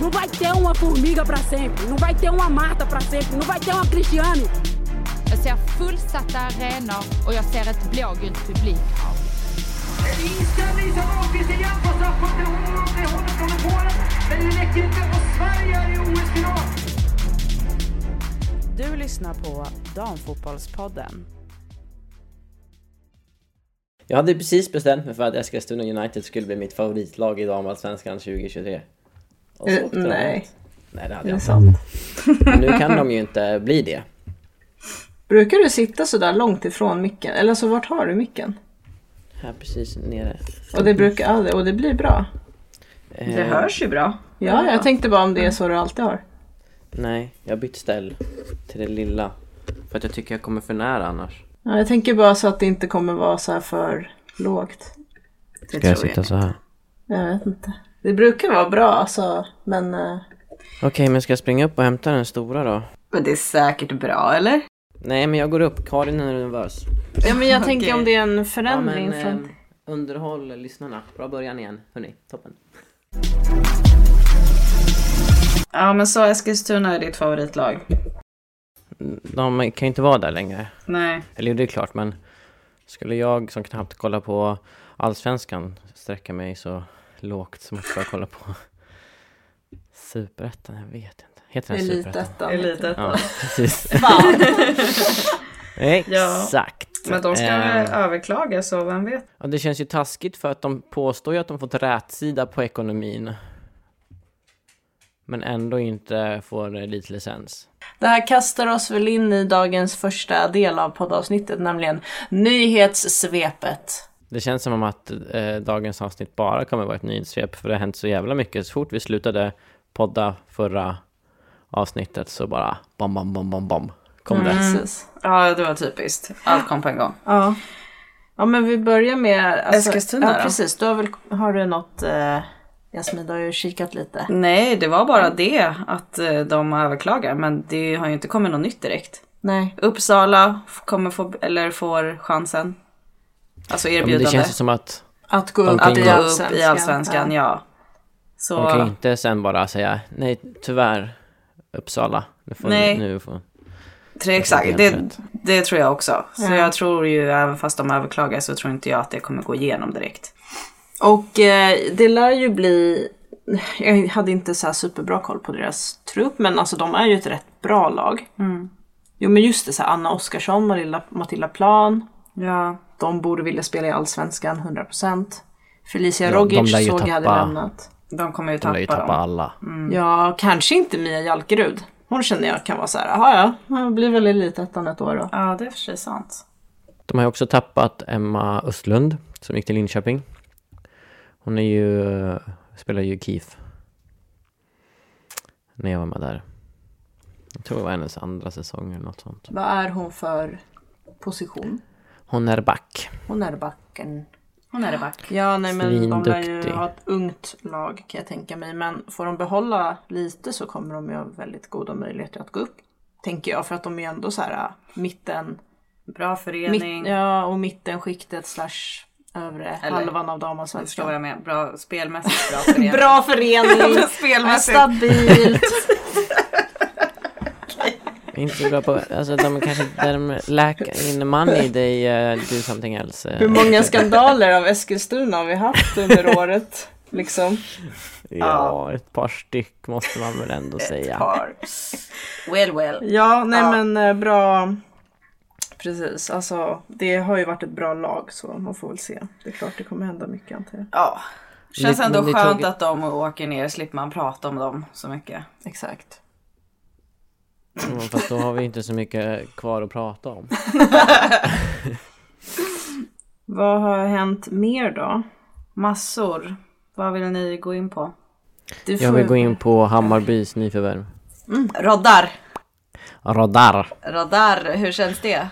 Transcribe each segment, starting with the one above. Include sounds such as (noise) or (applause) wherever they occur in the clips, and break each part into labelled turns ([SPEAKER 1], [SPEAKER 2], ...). [SPEAKER 1] Não vai ter uma formiga para sempre, não vai ter uma Marta para sempre, não vai ter uma Cristiane.
[SPEAKER 2] Jag ser fullsatta arenor och jag ser ett blågult publikhav.
[SPEAKER 3] Inställning som Ahlqvist igen på straffpunkten. Hon håller från Polen, men det räcker inte. Och Sverige är i OS-final.
[SPEAKER 4] Du lyssnar på Damfotbollspodden.
[SPEAKER 5] Jag hade precis bestämt mig för att Eskilstuna United skulle bli mitt favoritlag i damallsvenskan 2023. Och så
[SPEAKER 6] Eh,
[SPEAKER 5] åkte de
[SPEAKER 6] nej.
[SPEAKER 5] ut. Nej, det hade jag
[SPEAKER 6] Det
[SPEAKER 7] (laughs)
[SPEAKER 6] är
[SPEAKER 5] inte.
[SPEAKER 6] sant.
[SPEAKER 5] Men nu kan de ju inte bli det.
[SPEAKER 6] Brukar du sitta sådär långt ifrån micken? Eller alltså vart har du micken?
[SPEAKER 5] Här precis nere.
[SPEAKER 6] Och det brukar aldrig, och det blir bra.
[SPEAKER 5] Eh,
[SPEAKER 7] Det hörs ju bra.
[SPEAKER 6] Ja, jag tänkte bara om det är så du alltid har.
[SPEAKER 5] Nej, jag har bytt ställ till det lilla. För att jag tycker jag kommer för nära annars.
[SPEAKER 6] Ja, jag tänker bara så att det inte kommer vara så här för lågt.
[SPEAKER 7] Det tror jag.
[SPEAKER 5] så här?
[SPEAKER 6] Jag vet inte. Det brukar vara bra alltså, men eh,
[SPEAKER 5] Okej, men ska jag springa upp och hämta den stora då?
[SPEAKER 7] Men det är säkert bra, eller?
[SPEAKER 5] Nej, men jag går upp. Karin är nervös.
[SPEAKER 6] Ja men jag tänker
[SPEAKER 7] Okej. eh,
[SPEAKER 6] om det är en
[SPEAKER 5] Ja,
[SPEAKER 6] förändring
[SPEAKER 5] men
[SPEAKER 6] från...
[SPEAKER 5] ehm, underhåll lyssnarna. Bra början igen. Hörni, toppen.
[SPEAKER 7] Ja, men så Eskilstuna är ditt favoritlag?
[SPEAKER 5] Mm, De kan ju inte vara där längre.
[SPEAKER 7] Nej.
[SPEAKER 5] Eller det är klart, men skulle jag som knappt kollar på allsvenskan sträcka mig så lågt så måste jag kolla på superettan. Jag vet inte. Heter den superettan?
[SPEAKER 6] Elitettan.
[SPEAKER 5] Ja, (laughs) precis. (laughs)
[SPEAKER 6] Fan.
[SPEAKER 5] Exakt.
[SPEAKER 7] Men de ska
[SPEAKER 5] Ehm,
[SPEAKER 7] väl överklaga, så vem vet?
[SPEAKER 5] ja, det känns ju taskigt för att de påstår ju att de fått rätsida på ekonomin. Men ändå inte får eh, elitlicens.
[SPEAKER 6] Det här kastar oss väl in i dagens första del av poddavsnittet, nämligen nyhetssvepet.
[SPEAKER 5] Det känns som om att eh, dagens avsnitt bara kommer vara ett nyhetssvep för det har hänt så jävla mycket. Så fort vi slutade podda förra avsnittet så bara bom, bom, bom, bom, bom kom
[SPEAKER 7] Mm.
[SPEAKER 5] det.
[SPEAKER 6] Precis.
[SPEAKER 7] Ja, det var typiskt. Allt kom på en gång.
[SPEAKER 6] Ja. Ja men vi börjar med... alltså-
[SPEAKER 7] Eskilstuna
[SPEAKER 6] Ja
[SPEAKER 7] då?
[SPEAKER 6] precis, du har väl, har du något... Eh, Jasmin, du har ju kikat lite.
[SPEAKER 7] Nej, det var bara det att eh, de överklagar, men det har ju inte kommit något nytt direkt.
[SPEAKER 6] Nej.
[SPEAKER 7] Uppsala f- kommer få, eller får chansen. Alltså
[SPEAKER 5] Ja, men
[SPEAKER 7] erbjudande.
[SPEAKER 5] det känns ju som att
[SPEAKER 6] Att gå
[SPEAKER 5] De
[SPEAKER 6] upp,
[SPEAKER 5] kan
[SPEAKER 7] att
[SPEAKER 5] ju
[SPEAKER 7] gå
[SPEAKER 6] i,
[SPEAKER 7] upp
[SPEAKER 6] allsvenskan.
[SPEAKER 7] i allsvenskan, ja.
[SPEAKER 5] de kan ju
[SPEAKER 7] Så
[SPEAKER 5] inte sen bara säga nej tyvärr Uppsala. Nu får,
[SPEAKER 7] Nej.
[SPEAKER 5] Nu får,
[SPEAKER 7] det, exakt,
[SPEAKER 5] Det är helt
[SPEAKER 7] det, det tror jag också. Så
[SPEAKER 6] Ja.
[SPEAKER 7] jag tror ju, även fast de överklagar, så tror inte jag att det kommer gå igenom direkt.
[SPEAKER 6] Och eh, det lär ju bli... Jag hade inte så här superbra koll på deras trupp men alltså de är ju ett rätt bra lag. Jo men just det, så här, Anna Oskarsson, Matilda, Matilda Plan.
[SPEAKER 7] Ja.
[SPEAKER 6] De borde vilja spela i Allsvenskan 100%. Felicia
[SPEAKER 5] Ja, de
[SPEAKER 6] Rogic
[SPEAKER 5] lär ju
[SPEAKER 6] såg jag hade
[SPEAKER 5] tappa-
[SPEAKER 6] lämnat.
[SPEAKER 7] De kommer ju
[SPEAKER 5] de lär ju
[SPEAKER 7] tappa,
[SPEAKER 5] tappa
[SPEAKER 7] dem.
[SPEAKER 5] alla.
[SPEAKER 7] Mm.
[SPEAKER 6] Ja, kanske inte Mia Jalkerud. Hon känner jag kan vara så här, jaha ja, hon blir väl elitettan ett år då.
[SPEAKER 7] Ja, det är för sig sant.
[SPEAKER 5] De har ju också tappat Emma Östlund som gick till Linköping. Hon är ju, spelar ju KIF. När jag var med där. Jag tror det var hennes andra säsong eller något sånt.
[SPEAKER 6] Vad är hon för position?
[SPEAKER 5] Hon är back.
[SPEAKER 6] Hon är backen.
[SPEAKER 7] Hon är det back.
[SPEAKER 6] Ja, nej men de lär ju
[SPEAKER 5] Svinduktig.
[SPEAKER 6] ha ett ungt lag kan jag tänka mig. Men får de behålla lite så kommer de ju ha väldigt goda möjligheter att gå upp. Tänker jag, för att de är ju ändå så här mitten,
[SPEAKER 7] Bra
[SPEAKER 6] mitt,
[SPEAKER 7] förening.
[SPEAKER 6] ja, och mittenskiktet slash övre
[SPEAKER 7] Eller-
[SPEAKER 6] halvan av
[SPEAKER 7] Jag förstår vad
[SPEAKER 6] damallsvenskan.
[SPEAKER 7] jag menar. Bra, spelmässigt bra förening.
[SPEAKER 6] Bra
[SPEAKER 7] (laughs)
[SPEAKER 6] Äh, förening!
[SPEAKER 7] spelmässigt.
[SPEAKER 6] Stabilt!
[SPEAKER 5] Inte bra på, alltså de kanske, där de lack in money they uh, do something else. eh.
[SPEAKER 6] Hur många skandaler av Eskilstuna har vi haft under (laughs) året? Liksom.
[SPEAKER 5] Ja, ett par styck måste man väl ändå säga.
[SPEAKER 7] Well, well.
[SPEAKER 6] Ja, nej men eh, bra. Precis, alltså det har ju varit ett bra lag så man får väl se. Det är klart det kommer hända mycket antar jag.
[SPEAKER 7] Ja. Känns
[SPEAKER 5] Men-
[SPEAKER 7] ändå
[SPEAKER 5] men det
[SPEAKER 7] skönt
[SPEAKER 5] tog-
[SPEAKER 7] att de åker ner, slipper man prata om dem så mycket.
[SPEAKER 6] Exakt.
[SPEAKER 5] Mm, Fast då har vi inte så mycket kvar att prata om.
[SPEAKER 6] Vad har hänt mer då?
[SPEAKER 7] Massor. Vad vill ni gå in på?
[SPEAKER 6] Du
[SPEAKER 5] Jag vill gå in på Hammarbys nyförvärv.
[SPEAKER 7] Roddar.
[SPEAKER 5] Radar.
[SPEAKER 7] Roddar, hur känns det?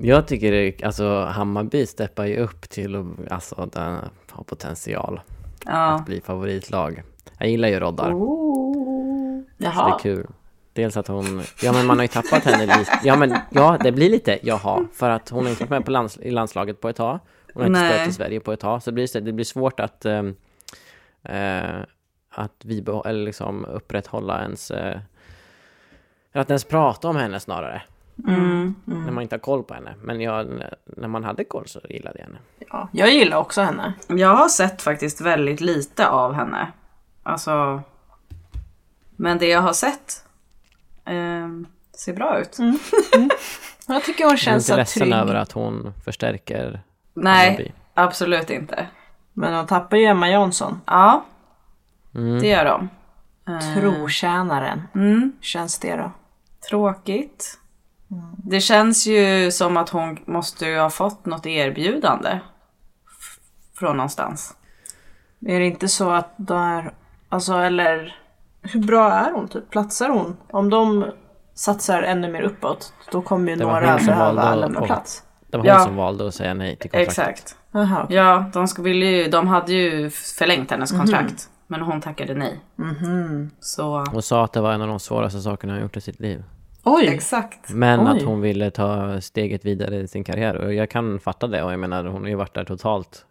[SPEAKER 5] Jag tycker det, alltså Hammarby steppar ju upp till att, alltså den har potential
[SPEAKER 7] Ja.
[SPEAKER 5] att bli favoritlag. Jag gillar ju Roddar, det är
[SPEAKER 6] Jaha.
[SPEAKER 5] kul. Dels att hon, ja men man har ju tappat henne lite, ja men ja det blir lite jaha, för att hon har inte varit med på lands, i landslaget på ett tag. Hon har inte
[SPEAKER 7] Nej.
[SPEAKER 5] spelat i Sverige på ett tag, så det blir, det blir svårt att, eh, eh, att vi eller liksom upprätthålla ens... Eh, eller att ens prata om henne snarare. När man inte har koll på henne. Men jag, när man hade koll så gillade jag henne.
[SPEAKER 6] Ja, jag gillar också henne.
[SPEAKER 7] Jag har sett faktiskt väldigt lite av henne. Alltså... Men det jag har sett ehm, ser bra ut.
[SPEAKER 6] Jag tycker hon
[SPEAKER 5] Jag är
[SPEAKER 6] känns
[SPEAKER 5] inte
[SPEAKER 6] så
[SPEAKER 5] ledsen
[SPEAKER 6] trygg.
[SPEAKER 5] över att hon förstärker
[SPEAKER 7] Nej,
[SPEAKER 5] Hammarby.
[SPEAKER 7] absolut inte.
[SPEAKER 6] Men de tappar ju Emma Jansson.
[SPEAKER 7] Ja, det gör de.
[SPEAKER 6] Eh. Trotjänaren.
[SPEAKER 7] Mm.
[SPEAKER 6] Känns det då?
[SPEAKER 7] Tråkigt.
[SPEAKER 5] Mm.
[SPEAKER 7] Det känns ju som att hon måste ju ha fått något erbjudande. f- Från någonstans.
[SPEAKER 6] Är det inte så att de är... Alltså eller... Hur bra är hon typ? Platsar hon? Om de satsar ännu mer uppåt, då kommer ju
[SPEAKER 5] Det var
[SPEAKER 6] några
[SPEAKER 5] hon som valde
[SPEAKER 6] behöva
[SPEAKER 5] att-
[SPEAKER 6] lämna plats.
[SPEAKER 5] Det var
[SPEAKER 7] Ja.
[SPEAKER 5] hon som valde att säga nej till kontraktet.
[SPEAKER 7] Exakt.
[SPEAKER 6] Jaha, okej.
[SPEAKER 7] Ja, de, skulle ju, de hade ju förlängt hennes
[SPEAKER 5] Mhm.
[SPEAKER 7] kontrakt. Men hon tackade nej. Så...
[SPEAKER 5] Hon sa att det var en av de svåraste sakerna hon gjort i sitt liv.
[SPEAKER 6] Oj!
[SPEAKER 7] Exakt.
[SPEAKER 5] Men
[SPEAKER 6] Oj.
[SPEAKER 5] att hon ville ta steget vidare i sin karriär. Och jag kan fatta det. Och jag menar, hon har ju varit där totalt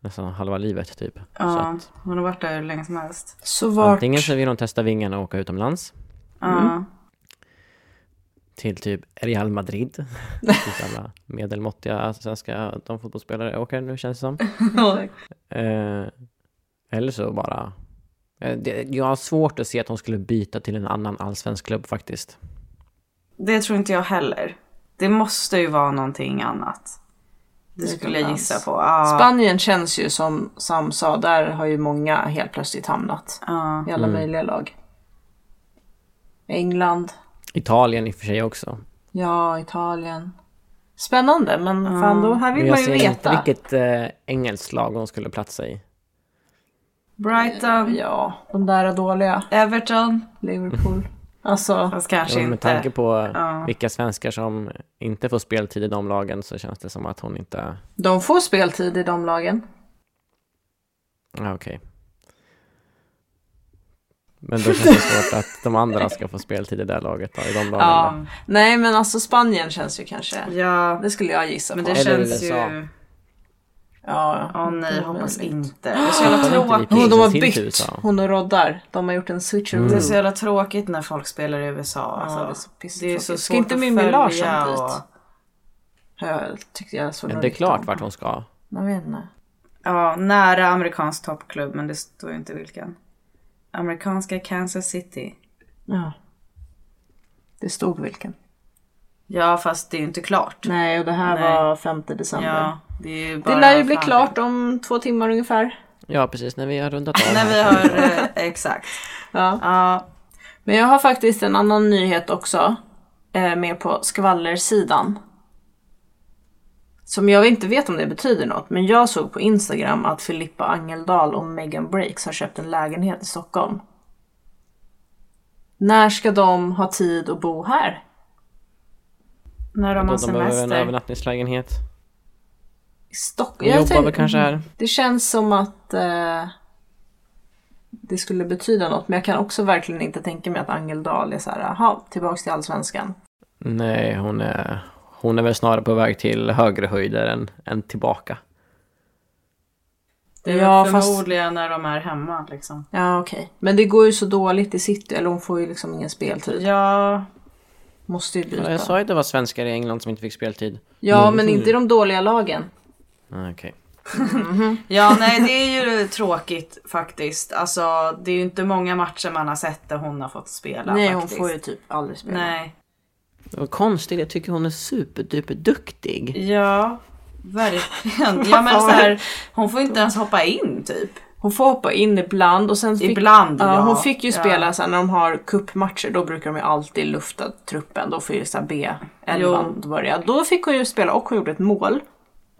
[SPEAKER 5] nästan halva livet typ. Så
[SPEAKER 7] Ja,
[SPEAKER 5] att
[SPEAKER 7] hon har varit där hur länge som helst.
[SPEAKER 6] Så vart...
[SPEAKER 5] antingen så vill hon testa vingarna och åka utomlands.
[SPEAKER 7] Ja.
[SPEAKER 5] Till typ Real
[SPEAKER 6] (laughs)
[SPEAKER 5] Madrid. Dit alla medelmåttiga svenska de fotbollsspelare åker nu känns det som. Eh, eller så bara... Eh, det- Jag har svårt att se att hon skulle byta till en annan allsvensk klubb faktiskt.
[SPEAKER 7] (laughs) Det tror inte jag heller. Det måste ju vara någonting annat. Det skulle jag gissa på. Ja.
[SPEAKER 6] Spanien känns ju som Sam sa, där har ju många helt plötsligt hamnat.
[SPEAKER 7] Ja.
[SPEAKER 6] I alla
[SPEAKER 5] Mm.
[SPEAKER 6] möjliga lag. England,
[SPEAKER 5] Italien i och för sig också.
[SPEAKER 6] ja Italien. Spännande, men fan då, här vill
[SPEAKER 5] Men
[SPEAKER 6] man
[SPEAKER 5] jag
[SPEAKER 6] ju
[SPEAKER 5] ser
[SPEAKER 6] veta.
[SPEAKER 5] inte vilket eh, engelskt lag hon skulle platsa i.
[SPEAKER 7] Brighton,
[SPEAKER 6] Eh, Ja, de där dåliga.
[SPEAKER 7] Everton.
[SPEAKER 6] Liverpool. Alltså,
[SPEAKER 7] Fast kanske
[SPEAKER 5] Ja, med
[SPEAKER 7] inte.
[SPEAKER 5] tanke på vilka svenskar som inte får speltid i de lagen så känns det som att hon inte...
[SPEAKER 6] de får speltid i de lagen.
[SPEAKER 5] Ja, okej. Men då känns
[SPEAKER 7] (laughs)
[SPEAKER 5] det svårt att de andra ska få speltid i det laget då, i de lagen
[SPEAKER 7] Ja.
[SPEAKER 6] Nej, men alltså Spanien känns ju kanske.
[SPEAKER 7] ja.
[SPEAKER 6] Det skulle jag gissa
[SPEAKER 7] Men
[SPEAKER 6] på.
[SPEAKER 7] det
[SPEAKER 5] Eller
[SPEAKER 7] känns
[SPEAKER 5] USA.
[SPEAKER 7] ju...
[SPEAKER 6] Ja,
[SPEAKER 7] Åh nej,
[SPEAKER 6] Det är
[SPEAKER 7] hoppas
[SPEAKER 6] möjligt.
[SPEAKER 7] inte. Det är så jävla
[SPEAKER 5] då. Inte
[SPEAKER 7] tråkigt.
[SPEAKER 5] vi
[SPEAKER 6] Hon, de
[SPEAKER 5] prinsens
[SPEAKER 6] har
[SPEAKER 5] till Mm. till
[SPEAKER 6] bytt.
[SPEAKER 5] USA.
[SPEAKER 6] Hon och roddar. De har gjort en switcheroo.
[SPEAKER 7] Det är så jävla tråkigt när folk spelar i USA. Alltså.
[SPEAKER 6] Mm. det är så pissigt
[SPEAKER 7] det är så
[SPEAKER 6] tråkigt.
[SPEAKER 7] svårt
[SPEAKER 6] Ska inte
[SPEAKER 7] att
[SPEAKER 6] Mimmi
[SPEAKER 7] följa
[SPEAKER 6] Larsson dit?
[SPEAKER 7] och...
[SPEAKER 6] Jag tyckte jag såg
[SPEAKER 5] Men
[SPEAKER 6] något
[SPEAKER 5] det är
[SPEAKER 6] rykte
[SPEAKER 5] klart
[SPEAKER 6] om.
[SPEAKER 5] vart hon ska.
[SPEAKER 6] Jag vet inte.
[SPEAKER 7] Ja, nära amerikansk toppklubb, men det står ju inte vilken. Amerikanska Kansas City.
[SPEAKER 6] Ja. Det stod vilken.
[SPEAKER 7] Ja, fast det är ju inte klart.
[SPEAKER 6] Nej, och det här
[SPEAKER 7] Nej.
[SPEAKER 6] var 5 december.
[SPEAKER 7] Ja, det är ju bara
[SPEAKER 6] Det lär ju bli
[SPEAKER 7] fram-
[SPEAKER 6] klart om två timmar ungefär.
[SPEAKER 5] Ja, precis. När vi har rundat av.
[SPEAKER 7] När vi har... eh, (laughs) Exakt.
[SPEAKER 6] Ja.
[SPEAKER 7] Ja,
[SPEAKER 6] Men jag har faktiskt en annan nyhet också. Eh, mer på skvallersidan. Som jag inte vet om det betyder något, men jag såg på Instagram att Filippa Angeldal och Megan Breaks har köpt en lägenhet i Stockholm. När ska de ha tid att bo här?
[SPEAKER 7] när de
[SPEAKER 5] Då
[SPEAKER 7] har
[SPEAKER 5] de behöver en
[SPEAKER 7] semester.
[SPEAKER 5] övernattningslägenhet.
[SPEAKER 6] I Stockholm?
[SPEAKER 5] Hon jobbar väl kanske här.
[SPEAKER 6] Det känns som att eh, det skulle betyda något, men jag kan också verkligen inte tänka mig att Angeldal är så här, jaha, tillbaks till allsvenskan.
[SPEAKER 5] Nej, hon är, hon är väl snarare på väg till högre höjder än, än tillbaka.
[SPEAKER 7] Det är
[SPEAKER 6] Ja,
[SPEAKER 7] ja,
[SPEAKER 6] fast-
[SPEAKER 7] förmodligen när de är hemma liksom.
[SPEAKER 6] Ja, okej. Men det går ju så dåligt i city, eller hon får ju liksom ingen speltid.
[SPEAKER 7] Ja,
[SPEAKER 6] Måste ju
[SPEAKER 5] Ja,
[SPEAKER 6] byta.
[SPEAKER 5] jag sa ju att det var svenskar i England som inte fick speltid.
[SPEAKER 6] Ja, men inte i de dåliga lagen.
[SPEAKER 5] Ah, Okej.
[SPEAKER 7] Ja, nej det är ju tråkigt faktiskt. Alltså det är ju inte många matcher man har sett där hon har fått spela
[SPEAKER 6] Nej, hon
[SPEAKER 7] faktiskt.
[SPEAKER 6] får ju typ aldrig spela.
[SPEAKER 7] Nej,
[SPEAKER 5] Det var konstigt, jag tycker hon är superduperduktig.
[SPEAKER 7] ja verkligen.
[SPEAKER 6] (laughs)
[SPEAKER 7] Ja men så här, hon får inte ens hoppa in typ.
[SPEAKER 6] Hon får hoppa in ibland och sen fick...
[SPEAKER 7] Ibland,
[SPEAKER 6] ja.
[SPEAKER 7] ja.
[SPEAKER 6] Hon fick ju
[SPEAKER 7] Ja.
[SPEAKER 6] spela så här, när de har cupmatcher, då brukar de ju alltid lufta truppen. Då får ju så här B11 börja. Då fick hon ju spela och hon gjorde ett mål.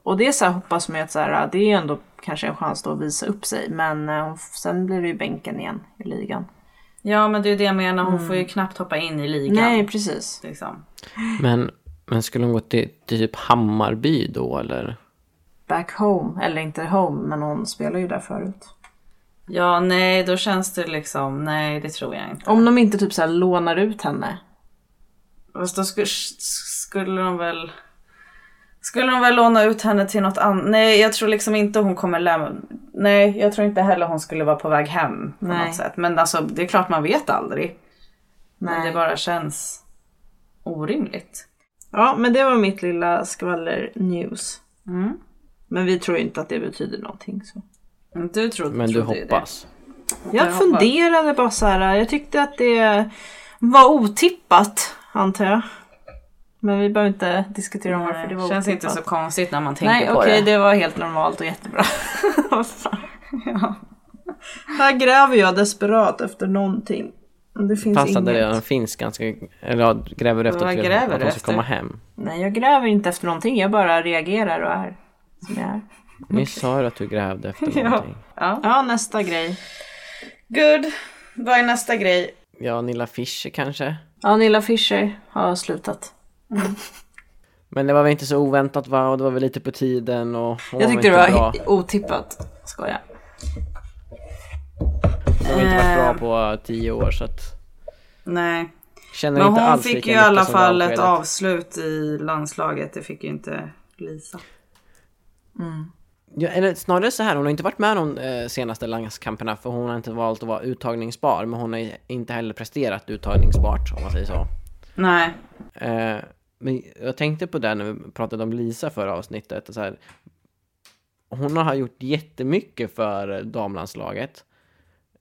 [SPEAKER 6] Och det är så här, hoppas man ju att så här, det är ju ändå kanske en chans då att visa upp sig. Men eh, hon- sen blir det ju bänken igen i ligan.
[SPEAKER 7] Ja men det är ju det jag menar, hon får ju knappt hoppa in i ligan.
[SPEAKER 6] Mm. Nej, precis.
[SPEAKER 7] Liksom.
[SPEAKER 5] Men, men skulle hon gå till, till typ Hammarby då eller?
[SPEAKER 6] Back home, eller inte home, men hon spelar ju där förut.
[SPEAKER 7] Ja nej då känns det liksom, nej det tror jag inte.
[SPEAKER 6] Om de inte typ så här lånar ut henne.
[SPEAKER 7] Fast då skulle, skulle de väl Skulle de väl låna ut henne till något annat? Nej, jag tror liksom inte hon kommer lämna. Nej, jag tror inte heller hon skulle vara på väg hem på
[SPEAKER 6] Nej.
[SPEAKER 7] något sätt. Men alltså, det är klart man vet aldrig. Men det bara känns orimligt.
[SPEAKER 6] Ja, men det var mitt lilla skvaller-news.
[SPEAKER 7] Mm.
[SPEAKER 6] Men vi tror inte att det betyder någonting. Så.
[SPEAKER 7] Du trodde,
[SPEAKER 5] Men du
[SPEAKER 7] trodde ju det.
[SPEAKER 5] hoppas.
[SPEAKER 6] Jag
[SPEAKER 7] Jag
[SPEAKER 6] funderade bara så här. Jag tyckte att det var otippat, antar jag. Men vi behöver inte diskutera om varför det var
[SPEAKER 7] Det känns
[SPEAKER 6] otippat.
[SPEAKER 7] inte så konstigt när man tänker
[SPEAKER 6] Nej,
[SPEAKER 7] på
[SPEAKER 6] okej,
[SPEAKER 7] det.
[SPEAKER 6] det. var helt normalt och jättebra. (laughs) Vad
[SPEAKER 7] (laughs)
[SPEAKER 6] fan. Här gräver jag desperat efter någonting. Det finns
[SPEAKER 5] Fast att det
[SPEAKER 6] inget.
[SPEAKER 5] redan finns ganska... Eller ja, gräver du efter
[SPEAKER 7] Vad
[SPEAKER 5] att, vi-
[SPEAKER 7] gräver
[SPEAKER 5] att
[SPEAKER 7] du
[SPEAKER 5] de ska
[SPEAKER 7] efter?
[SPEAKER 5] komma hem?
[SPEAKER 6] Nej, jag gräver inte efter någonting. Jag bara reagerar och är som jag är.
[SPEAKER 5] Nyss sa du att du grävde
[SPEAKER 6] (laughs)
[SPEAKER 5] efter
[SPEAKER 7] Ja.
[SPEAKER 5] någonting.
[SPEAKER 6] Ja, nästa grej.
[SPEAKER 7] Good. Vad är nästa grej?
[SPEAKER 5] Ja, Nilla Fischer kanske?
[SPEAKER 6] Ja, Nilla Fischer har slutat.
[SPEAKER 5] Men det var väl inte så oväntat va? Och det var väl lite på tiden och... och
[SPEAKER 6] Jag tyckte det
[SPEAKER 5] inte bra.
[SPEAKER 6] var he- otippat. Skoja.
[SPEAKER 5] De har inte varit bra på tio år så att...
[SPEAKER 7] Nej.
[SPEAKER 5] Känner
[SPEAKER 7] Men
[SPEAKER 5] inte
[SPEAKER 7] hon
[SPEAKER 5] alls
[SPEAKER 7] fick
[SPEAKER 5] lika
[SPEAKER 7] ju i
[SPEAKER 5] mycket
[SPEAKER 7] alla
[SPEAKER 5] som
[SPEAKER 7] fall ett
[SPEAKER 5] avskedet.
[SPEAKER 7] avslut i landslaget. Det fick ju inte Lisa.
[SPEAKER 6] Mm.
[SPEAKER 5] Ja, eller snarare så här, hon har inte varit med de eh, senaste landskamperna för hon har inte valt att vara uttagningsbar men hon har ju inte heller presterat uttagningsbart om man säger så.
[SPEAKER 7] Nej.
[SPEAKER 5] Eh, men jag tänkte på det när vi pratade om Lisa förra avsnittet. Så här, hon har gjort jättemycket för damlandslaget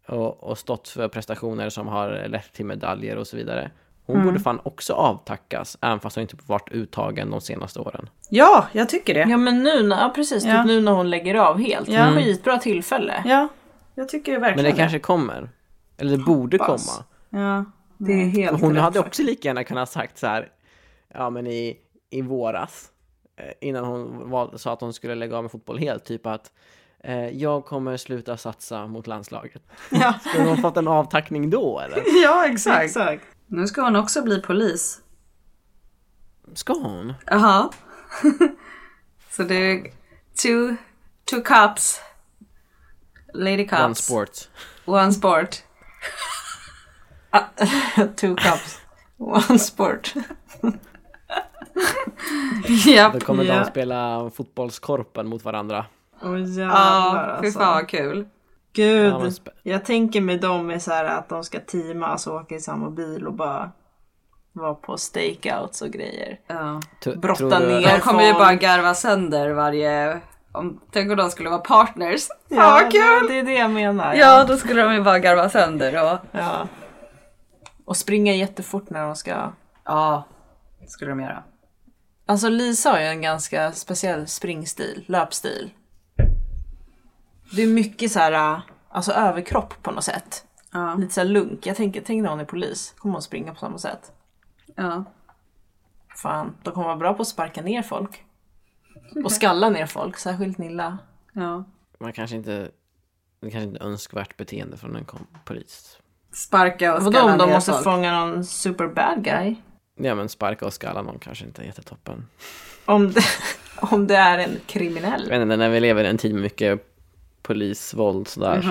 [SPEAKER 5] och, och stått för prestationer som har lett till medaljer och så vidare. Hon borde fan också avtackas, även fast hon inte varit uttagen de senaste åren.
[SPEAKER 7] Ja, jag tycker det.
[SPEAKER 6] Ja, men nu när, ja, precis,
[SPEAKER 7] Ja.
[SPEAKER 6] Typ nu när hon lägger av helt.
[SPEAKER 7] Ja. Mm.
[SPEAKER 6] Skitbra tillfälle.
[SPEAKER 7] Ja, jag tycker det verkligen
[SPEAKER 5] Men det kanske kommer. Eller det borde
[SPEAKER 6] Hoppas.
[SPEAKER 5] komma.
[SPEAKER 7] Ja.
[SPEAKER 6] Det är helt
[SPEAKER 5] Hon
[SPEAKER 6] rätt
[SPEAKER 5] hade
[SPEAKER 6] faktiskt.
[SPEAKER 5] också lika gärna kunnat sagt så här, ja men i, i våras, eh, innan hon val, sa att hon skulle lägga av med fotboll helt, typ att eh, jag kommer sluta satsa mot landslaget.
[SPEAKER 6] (laughs) Ja.
[SPEAKER 5] Skulle hon fått en avtackning då eller?
[SPEAKER 7] ja, exakt.
[SPEAKER 6] Exakt.
[SPEAKER 7] Nu ska hon också bli polis.
[SPEAKER 5] Ska hon?
[SPEAKER 7] Jaha. (laughs) Så det är two, two cops. Lady cops.
[SPEAKER 5] One sport.
[SPEAKER 7] One sport.
[SPEAKER 6] (laughs) Two cups. One sport.
[SPEAKER 7] (laughs) Japp.
[SPEAKER 5] Då kommer
[SPEAKER 6] Ja.
[SPEAKER 5] de spela fotbollskorpen mot varandra.
[SPEAKER 6] Åh
[SPEAKER 7] Ja,
[SPEAKER 6] jävlar alltså.
[SPEAKER 7] fy fan vad kul.
[SPEAKER 6] Gud.
[SPEAKER 5] Ja, men spe-
[SPEAKER 6] Jag tänker med dem är så här att de ska teama, alltså åka i samma bil och bara vara på stakeouts och grejer.
[SPEAKER 7] Ja.
[SPEAKER 5] t-
[SPEAKER 6] Brotta
[SPEAKER 5] tror du-
[SPEAKER 6] ner.
[SPEAKER 7] De kommer ju
[SPEAKER 6] Erfaren.
[SPEAKER 7] bara garva sönder varje... Om, tänk om de skulle vara partners. Fan
[SPEAKER 6] Ja,
[SPEAKER 7] vad kul!
[SPEAKER 6] Det är det jag menar.
[SPEAKER 7] Ja, då skulle de ju bara garva sönder och...
[SPEAKER 6] Ja. Och springa jättefort när de ska...
[SPEAKER 7] Ja, det skulle de göra.
[SPEAKER 6] Alltså Lisa har ju en ganska speciell springstil, löpstil. Det är mycket så här, alltså överkropp på något sätt.
[SPEAKER 7] Ja,
[SPEAKER 6] Lite så här lunk. Jag tänker, tänk när hon är polis, kommer hon springa på samma sätt?
[SPEAKER 7] ja.
[SPEAKER 6] Fan, de kommer vara bra på att sparka ner folk. Och skalla ner folk, särskilt Nilla.
[SPEAKER 7] ja.
[SPEAKER 5] Man kanske inte, det kanske inte är önskvärt beteende från en kom- polis.
[SPEAKER 7] Sparka och
[SPEAKER 6] Vadå
[SPEAKER 7] skalla
[SPEAKER 6] om de
[SPEAKER 7] ner
[SPEAKER 6] måste
[SPEAKER 7] folk.
[SPEAKER 6] fånga någon super bad guy?
[SPEAKER 5] Ja men sparka och skalla någon kanske inte är jättetoppen.
[SPEAKER 6] Om det, (laughs) om det är en
[SPEAKER 5] Jag
[SPEAKER 6] kriminell.
[SPEAKER 5] vet inte, när vi lever i en tid med mycket polisvåld sådär så.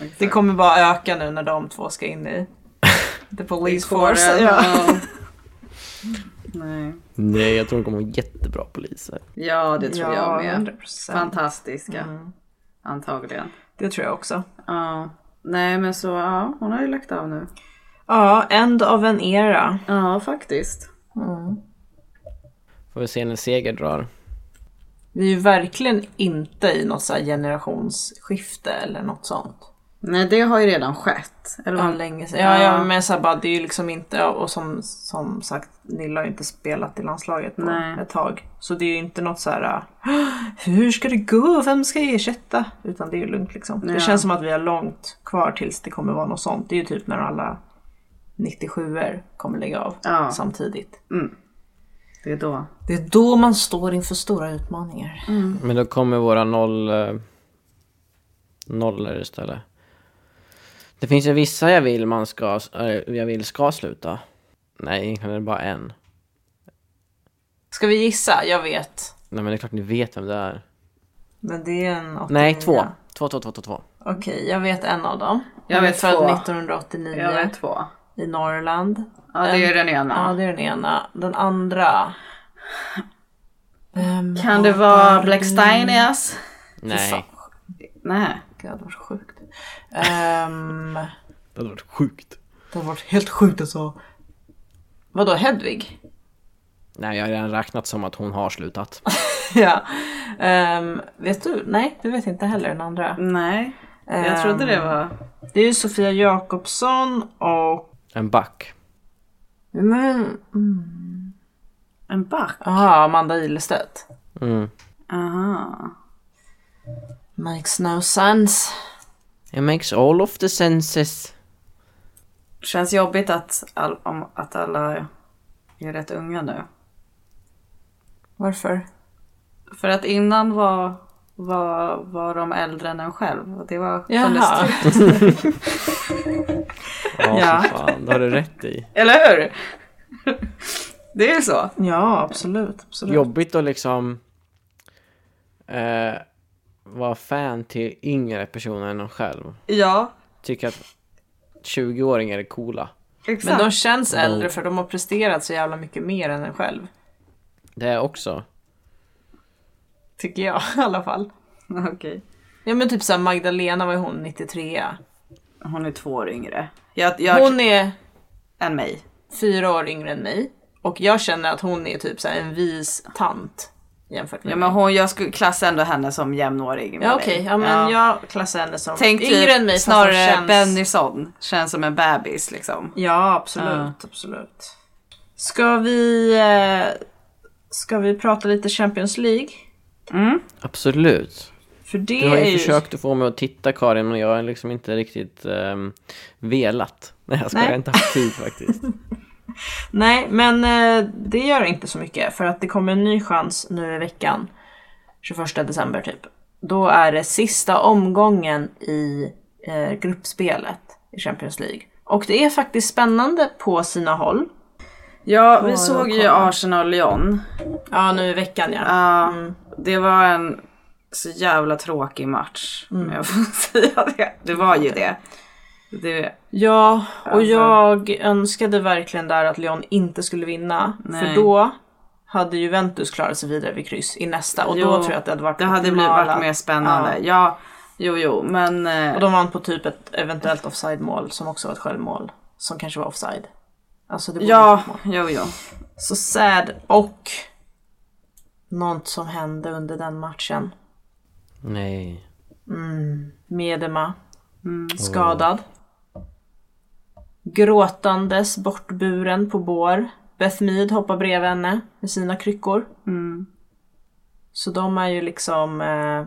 [SPEAKER 7] Mhm.
[SPEAKER 6] Det kommer bara öka nu när de två ska in
[SPEAKER 7] (laughs)
[SPEAKER 6] i the police force.
[SPEAKER 7] Force,
[SPEAKER 6] Ja.
[SPEAKER 7] ja. Nej.
[SPEAKER 5] Nej, jag tror de kommer vara jättebra poliser.
[SPEAKER 7] Ja, det tror
[SPEAKER 6] Ja,
[SPEAKER 7] jag med.
[SPEAKER 6] 100%.
[SPEAKER 7] (laughs) Fantastiska.
[SPEAKER 6] Mm.
[SPEAKER 7] Antagligen.
[SPEAKER 6] Det tror jag också.
[SPEAKER 7] Ja. Nej, men så ja, hon har ju lagt av nu.
[SPEAKER 6] Ja, end of an era.
[SPEAKER 7] Ja, faktiskt.
[SPEAKER 5] Får vi se när Seger drar.
[SPEAKER 6] Vi är ju verkligen inte i något så här generationsskifte eller något sånt.
[SPEAKER 7] Nej, det har ju redan skett. Eller
[SPEAKER 6] Det var
[SPEAKER 7] vad?
[SPEAKER 6] länge sedan. Ja,
[SPEAKER 7] Ja.
[SPEAKER 6] ja men så här bara, det är ju liksom inte, och som, som sagt, Nilla har ju inte spelat i landslaget på
[SPEAKER 7] Nej.
[SPEAKER 6] ett tag. Så det är ju inte något så här, "Åh, hur ska det gå, vem ska jag ersätta? Utan det är ju lugnt liksom.
[SPEAKER 7] Ja.
[SPEAKER 6] Det känns som att vi har långt kvar tills det kommer vara något sånt. Det är ju typ när alla 97 er kommer lägga av
[SPEAKER 7] Ja.
[SPEAKER 6] samtidigt.
[SPEAKER 7] Det är då.
[SPEAKER 6] Det är då man står inför stora utmaningar.
[SPEAKER 7] Mm.
[SPEAKER 5] Men då kommer våra noll... eh, Nollor istället. Det finns ju vissa jag vill man ska... eh, Jag vill ska sluta. Nej, egentligen är det bara en.
[SPEAKER 6] Ska vi gissa? Jag vet.
[SPEAKER 5] Nej men det är klart ni vet vem det är.
[SPEAKER 6] Men det är en 89.
[SPEAKER 5] Nej, två. Två, två, två, två, två.
[SPEAKER 6] Okej, jag vet en av dem.
[SPEAKER 7] Jag
[SPEAKER 6] Hon är
[SPEAKER 7] vet
[SPEAKER 6] född
[SPEAKER 7] två.
[SPEAKER 6] 1989.
[SPEAKER 7] Jag vet två.
[SPEAKER 6] i Norrland.
[SPEAKER 7] Ja, det är ju den
[SPEAKER 6] Ja,
[SPEAKER 7] ena.
[SPEAKER 6] det är den ena. Den andra
[SPEAKER 7] Kan det vara Blacksteinias?
[SPEAKER 5] Nej,
[SPEAKER 7] Nej, gud det var så sjukt. Ehm,
[SPEAKER 5] det hade varit sjukt.
[SPEAKER 7] det har varit helt sjukt alltså. Vadå Hedvig?
[SPEAKER 5] Nej, jag har redan räknat som att hon har slutat.
[SPEAKER 6] (laughs) ja. Ehm, vet du? Nej, du vet inte heller den andra.
[SPEAKER 7] Nej, jag trodde Ehm. det var...
[SPEAKER 6] Det är ju Sofia Jakobsson och...
[SPEAKER 5] En back.
[SPEAKER 6] Men...
[SPEAKER 7] En back?
[SPEAKER 6] Mm. Aha, Amanda Ilestedt.
[SPEAKER 5] Mm.
[SPEAKER 7] Aha.
[SPEAKER 6] Makes no sense.
[SPEAKER 5] It makes all of the senses.
[SPEAKER 7] Känns jobbigt att, all, om, att alla är rätt unga nu.
[SPEAKER 6] Varför?
[SPEAKER 7] För att innan var, var, var de äldre än en själv. Och det var
[SPEAKER 6] Jaha.
[SPEAKER 7] kändes tryggt.
[SPEAKER 5] Ja,
[SPEAKER 7] Ja.
[SPEAKER 5] för fan. Det har du rätt i.
[SPEAKER 7] Eller hur? (laughs) Det är ju så.
[SPEAKER 6] Ja, absolut.
[SPEAKER 5] (laughs)
[SPEAKER 6] absolut.
[SPEAKER 5] Jobbigt att liksom eh, vara fan till yngre personer än en själv.
[SPEAKER 7] Ja,
[SPEAKER 5] Tycker att 20-åringar är coola.
[SPEAKER 7] exakt.
[SPEAKER 6] Men de känns äldre för de har presterat så jävla mycket mer än en själv.
[SPEAKER 5] Det är också.
[SPEAKER 6] Tycker jag (laughs) i alla fall.
[SPEAKER 7] (laughs) Okej.
[SPEAKER 6] Ja men typ såhär Magdalena, vad är hon, 93?
[SPEAKER 7] Hon är två år yngre. Jag, jag,
[SPEAKER 6] Hon är
[SPEAKER 7] Än mig.
[SPEAKER 6] fyra år yngre än mig. Och jag känner att hon är typ såhär en vis tant jämfört med
[SPEAKER 7] Ja, men
[SPEAKER 6] mig.
[SPEAKER 7] hon, jag skulle klassa ändå henne som jämnårig med
[SPEAKER 6] Ja
[SPEAKER 7] mig.
[SPEAKER 6] okej, ja, men jag klassar henne som
[SPEAKER 7] Tänk
[SPEAKER 6] yngre
[SPEAKER 7] typ
[SPEAKER 6] än mig fast hon
[SPEAKER 7] snarare
[SPEAKER 6] känns...
[SPEAKER 7] Bennison. Känns som en bebis liksom.
[SPEAKER 6] Ja absolut,
[SPEAKER 7] Ja.
[SPEAKER 6] absolut. Ska vi, eh, ska vi prata lite Champions League?
[SPEAKER 5] Absolut.
[SPEAKER 6] För det
[SPEAKER 5] Du har
[SPEAKER 6] är
[SPEAKER 5] ju
[SPEAKER 6] ju...
[SPEAKER 5] försökt att få mig att titta Karin men jag har liksom inte riktigt ehm, velat. (laughs) Nej jag skojar, jag har inte haft tid faktiskt.
[SPEAKER 6] Nej, men eh, det gör inte så mycket för att det kommer en ny chans nu i veckan. 21 december typ. Då är det sista omgången i eh, gruppspelet i Champions League. Och det är faktiskt spännande på sina håll.
[SPEAKER 7] Ja, vi
[SPEAKER 6] jag
[SPEAKER 7] såg ju
[SPEAKER 6] kollar.
[SPEAKER 7] Arsenal-Lyon.
[SPEAKER 6] Ja, nu i veckan ja. Mm.
[SPEAKER 7] Ja, Det var en så jävla tråkig match.
[SPEAKER 6] Mm.
[SPEAKER 7] Om jag får (laughs) säga det. Det var ju det. det
[SPEAKER 6] Ja, och
[SPEAKER 7] Alltså-
[SPEAKER 6] jag önskade verkligen där att Lyon inte skulle vinna.
[SPEAKER 7] Nej.
[SPEAKER 6] För då hade Juventus klarat sig vidare vid kryss i nästa och
[SPEAKER 7] Jo,
[SPEAKER 6] då tror jag att det hade varit
[SPEAKER 7] det hade blivit
[SPEAKER 6] optimala.
[SPEAKER 7] varit mer spännande. Ja. jo, jo, men... eh,
[SPEAKER 6] Och de vann på typ ett eventuellt offside-mål som också var ett självmål. Som kanske var offside. Alltså det borde
[SPEAKER 7] Ja,
[SPEAKER 6] inte vara ett mål.
[SPEAKER 7] jo, jo.
[SPEAKER 6] Så sad och något som hände under den matchen.
[SPEAKER 5] Nej.
[SPEAKER 6] Medema. Skadad. Gråtandes bortburen på bår. Beth Mead hoppar bredvid henne med sina kryckor. Så de är ju liksom eh,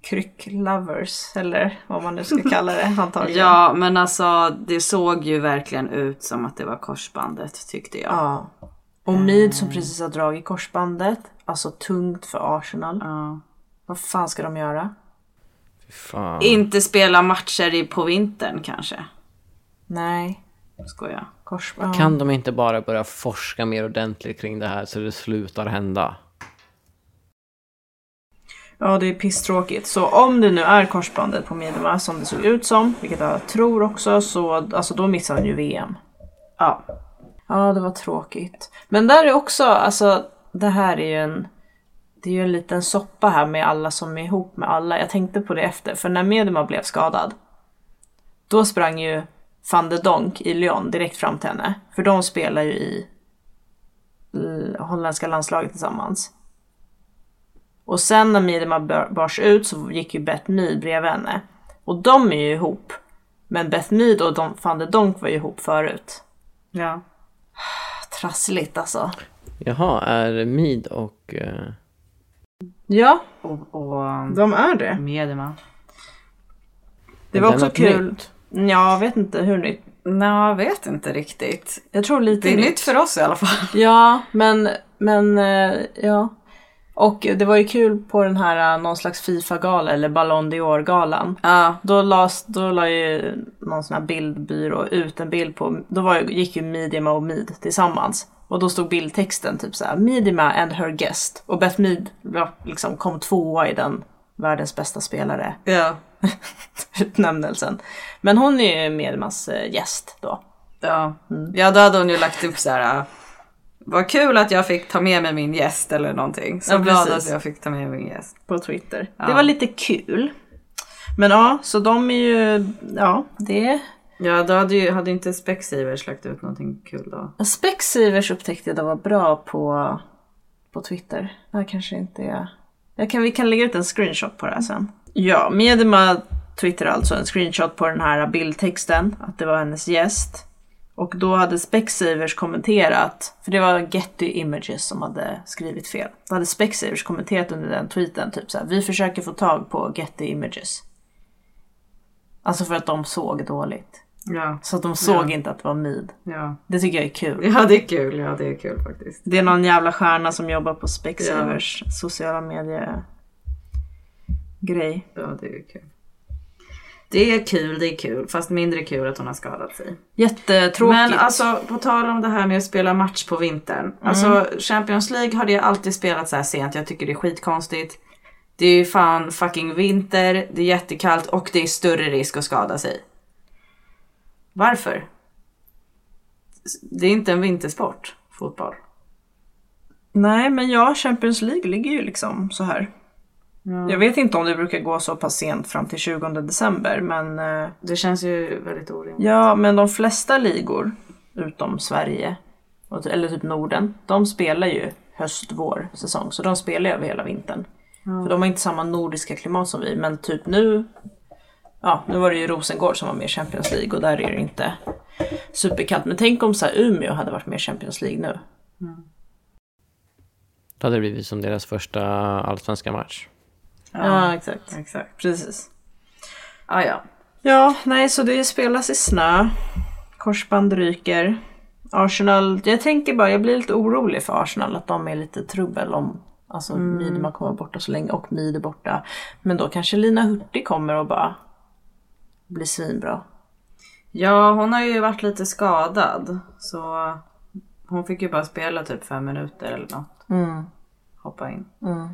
[SPEAKER 6] krycklovers eller vad man nu ska kalla det antagligen.
[SPEAKER 7] Ja, men alltså det såg ju verkligen ut som att det var korsbandet tyckte jag.
[SPEAKER 6] Ja. Och Mid som precis har dragit korsbandet. Alltså tungt för Arsenal.
[SPEAKER 7] Ja.
[SPEAKER 6] Vad fan ska de göra?
[SPEAKER 5] Fy Fan.
[SPEAKER 7] Inte spela matcher i, på vintern kanske.
[SPEAKER 6] Nej.
[SPEAKER 7] Skojar.
[SPEAKER 6] Korsband.
[SPEAKER 5] Kan de inte bara börja forska mer ordentligt kring det här så det slutar hända?
[SPEAKER 6] Ja, det är pisstråkigt. Så om det nu är korsbandet på Midema som det såg ut som, vilket jag tror också, så alltså, då missar han ju VM.
[SPEAKER 7] Ja.
[SPEAKER 6] Ja, det var tråkigt. Men där är också, alltså det här är ju en det är ju en liten soppa här med alla som är ihop med alla. Jag tänkte på det efter, för när Medema blev skadad, då sprang ju van de Donk i Lyon direkt fram till henne. För de spelar ju i eh, holländska landslaget tillsammans. Och sen när Medema bör- bars ut så gick ju Beth Mead bredvid henne. Och de är ju ihop. Men Beth Mead och de, van de Donk var ju ihop förut.
[SPEAKER 7] Ja.
[SPEAKER 6] Trassligt alltså.
[SPEAKER 5] Jaha, är Mid och... eh,
[SPEAKER 6] Ja,
[SPEAKER 7] Och, och
[SPEAKER 6] de är det.
[SPEAKER 7] Medema.
[SPEAKER 6] Det var
[SPEAKER 5] den
[SPEAKER 6] också
[SPEAKER 5] något
[SPEAKER 6] kul.
[SPEAKER 5] nytt?
[SPEAKER 6] Ja, jag vet inte hur nytt.
[SPEAKER 7] Nej, jag vet inte riktigt.
[SPEAKER 6] Jag tror lite
[SPEAKER 7] Det är nytt för oss i alla fall.
[SPEAKER 6] Ja, men, men eh, ja. Och det var ju kul på den här eh, någon slags Fifa-gala eller Ballon d'Or-galan.
[SPEAKER 7] (laughs) Ja.
[SPEAKER 6] Då, las, då la ju någon sån här bildbyrå ut en bild på, då var, ju- gick ju Midima och Mid tillsammans. Och då stod bildtexten typ så här: Midima and her guest. Och Beth Mid var- liksom kom tvåa i den världens bästa spelare. (laughs)
[SPEAKER 7] Ja.
[SPEAKER 6] utnämnelsen. Men hon är ju Medmas eh, gäst då.
[SPEAKER 7] Ja. ja, då hade hon ju lagt upp så här äh, Vad kul att jag fick ta med mig min gäst eller någonting. Så
[SPEAKER 6] Ja,
[SPEAKER 7] glad
[SPEAKER 6] precis.
[SPEAKER 7] att jag fick ta med min gäst.
[SPEAKER 6] på Twitter.
[SPEAKER 7] Ja.
[SPEAKER 6] Det var lite kul. Men ja, så de är ju, ja, det.
[SPEAKER 7] Ja, då hade ju hade inte Specsavers lagt ut någonting kul då.
[SPEAKER 6] Specsavers upptäckte jag då var bra på, på Twitter. Det här kanske inte är... Jag kan, vi kan lägga ut en screenshot på det här sen. Ja, Miedema twittrade alltså en screenshot på den här bildtexten, att det var hennes gäst. Och då hade Specsavers kommenterat, för det var Getty Images som hade skrivit fel. Då hade Specsavers kommenterat under den tweeten typ så här, vi försöker få tag på Getty Images. Alltså för att de såg dåligt.
[SPEAKER 7] Ja,
[SPEAKER 6] Så att de såg inte att det var Mid.
[SPEAKER 7] ja.
[SPEAKER 6] Det tycker jag är kul.
[SPEAKER 7] Ja, det är kul. Ja, det är kul faktiskt.
[SPEAKER 6] Det är någon jävla stjärna som jobbar på Specsavers sociala medier grej.
[SPEAKER 7] Ja, det är kul. Det är kul, det är kul. Fast mindre kul att hon har skadat sig.
[SPEAKER 6] Jättetråkigt.
[SPEAKER 7] Men alltså på tal om det här med att spela match på vintern.
[SPEAKER 6] Mm.
[SPEAKER 7] Alltså Champions League har det alltid spelat så här sent. Jag tycker det är skitkonstigt. Det är ju fan fucking vinter, det är jättekallt och det är större risk att skada sig. Varför? Det är inte en vintersport, fotboll.
[SPEAKER 6] Nej men ja, Champions League ligger ju liksom så här. Jag vet inte om det brukar gå så pass sent fram till 20 december men eh,
[SPEAKER 7] Det känns ju väldigt orimligt.
[SPEAKER 6] ja, men de flesta ligor utom Sverige och- eller typ Norden, de spelar ju höst, vår säsong så de spelar ju över hela vintern. För de har inte samma nordiska klimat som vi men typ nu ja, nu var det ju Rosengård som var med i Champions League och där är det inte superkallt. Men tänk om så här Umeå hade varit med i Champions League nu.
[SPEAKER 5] Då hade det blivit som deras första allsvenska match.
[SPEAKER 6] Ja, exakt.
[SPEAKER 7] Exakt.
[SPEAKER 6] Precis.
[SPEAKER 7] Ah, ja.
[SPEAKER 6] Ja, nej, så det spelas i snö. Korsband ryker. Arsenal, jag tänker bara, jag blir lite orolig för Arsenal att de är lite trubbel om alltså
[SPEAKER 7] Mm.
[SPEAKER 6] Miedema kommer vara borta så länge och Mid är borta. Men då kanske Lina Hurtig kommer och bara blir svinbra.
[SPEAKER 7] ja, hon har ju varit lite skadad. Så hon fick ju bara spela typ fem minuter eller något.
[SPEAKER 6] Mm.
[SPEAKER 7] hoppa in.
[SPEAKER 6] Mm.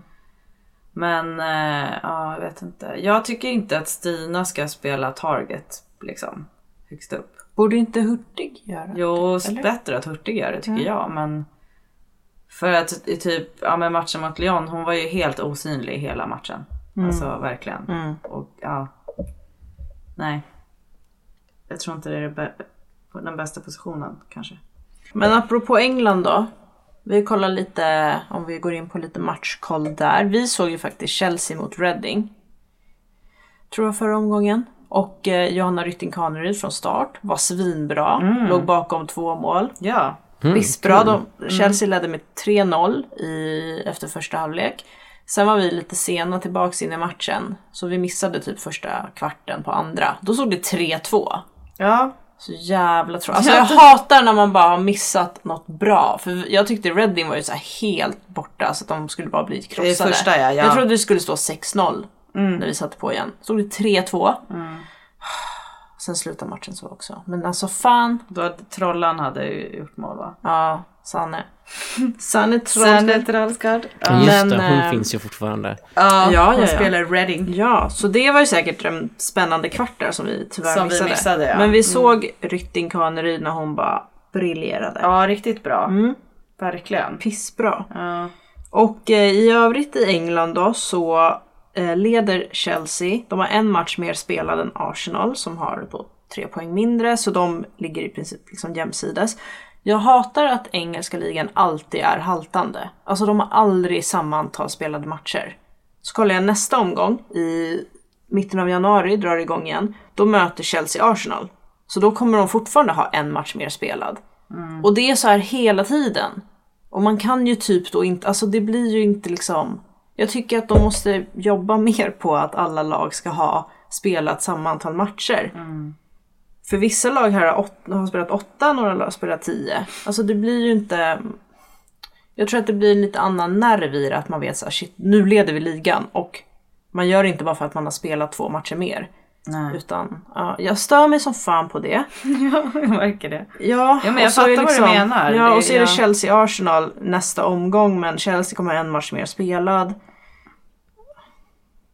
[SPEAKER 7] Men eh, ja, jag vet inte. Jag tycker inte att Stina ska spela target liksom högst upp.
[SPEAKER 6] Borde inte Hurtig göra
[SPEAKER 7] Jo,
[SPEAKER 6] Eller?
[SPEAKER 7] bättre att Hurtig gör det tycker jag, men för att i typ ja, men matchen mot Lyon, hon var ju helt osynlig hela matchen. Alltså verkligen.
[SPEAKER 6] Mm.
[SPEAKER 7] Och ja, nej. Jag tror inte det är det bä- på den bästa positionen kanske.
[SPEAKER 6] Men apropå England då. Vi kollar lite, om vi går in på lite matchkoll där. Vi såg ju faktiskt Chelsea mot Reading. Tror jag förra omgången. Och eh, Johanna Rytting Kaneryd från start var svinbra. Låg bakom två mål.
[SPEAKER 7] Ja,
[SPEAKER 6] Visst bra. De, Chelsea ledde med 3-0 i, efter första halvlek. Sen var vi lite sena tillbaks in i matchen. Så vi missade typ första kvarten på andra. Då såg det 3-2.
[SPEAKER 7] ja
[SPEAKER 6] Så jävla tråkigt. Alltså jag hatar när man bara har missat något bra. För jag tyckte Reading var ju så här helt borta så att de skulle bara bli krossade.
[SPEAKER 7] första, ja, Mm. ja.
[SPEAKER 6] Jag trodde det skulle stå 6-0 när vi satte på igen. Stod det 3-2.
[SPEAKER 7] Mm.
[SPEAKER 6] (sighs) Sen slutade matchen så också. Men alltså fan.
[SPEAKER 7] då hade Trollan hade ju gjort mål va?
[SPEAKER 6] Ja,
[SPEAKER 7] (laughs)
[SPEAKER 6] Sanne. Sanne
[SPEAKER 7] Sanne
[SPEAKER 6] Trollstedt.
[SPEAKER 7] Trollskard.
[SPEAKER 5] Men just det,
[SPEAKER 6] men,
[SPEAKER 5] hon
[SPEAKER 6] eh,
[SPEAKER 5] finns ju fortfarande.
[SPEAKER 7] Ja,
[SPEAKER 6] Ja,
[SPEAKER 7] hon
[SPEAKER 6] ja, ja.
[SPEAKER 7] spelar Reading.
[SPEAKER 6] Ja, så det var ju säkert en spännande kvart där som vi tyvärr
[SPEAKER 7] Som vi
[SPEAKER 6] missade.
[SPEAKER 7] missade, ja. Mm.
[SPEAKER 6] Men vi såg Rytting Kaneryd när hon bara briljerade.
[SPEAKER 7] Ja, riktigt bra.
[SPEAKER 6] Mm.
[SPEAKER 7] Verkligen.
[SPEAKER 6] Pissbra.
[SPEAKER 7] Ja.
[SPEAKER 6] Och eh, i övrigt i England då så eh, leder Chelsea. De har en match mer spelad än Arsenal som har då tre poäng mindre så de ligger i princip liksom jämsides. Jag hatar att engelska ligan alltid är haltande. Alltså de har aldrig samma antal spelade matcher. Så kollar jag nästa omgång i mitten av januari drar det igång igen. Då möter Chelsea Arsenal. Så då kommer de fortfarande ha en match mer spelad. Och det är så här hela tiden. Och man kan ju typ då inte, alltså det blir ju inte liksom. Jag tycker att de måste jobba (laughs) mer på att alla lag ska ha spelat samma antal matcher. För vissa lag här har, åt, har spelat åtta, några lag har spelat tio. Alltså det blir ju inte. Jag tror att det blir en lite annan nerv i det att man vet så här, shit nu leder vi ligan och man gör det inte bara för att man har spelat två matcher mer.
[SPEAKER 7] Nej.
[SPEAKER 6] Utan ja, jag stör mig som fan på det.
[SPEAKER 7] Ja, (laughs) jag märker det.
[SPEAKER 6] Ja,
[SPEAKER 7] Ja, men jag
[SPEAKER 6] och så är det liksom-
[SPEAKER 7] fattar vad du menar.
[SPEAKER 6] Ja,
[SPEAKER 7] Det-
[SPEAKER 6] och så är det
[SPEAKER 7] ja.
[SPEAKER 6] Chelsea-Arsenal nästa omgång, men Chelsea kommer ha en match mer spelad.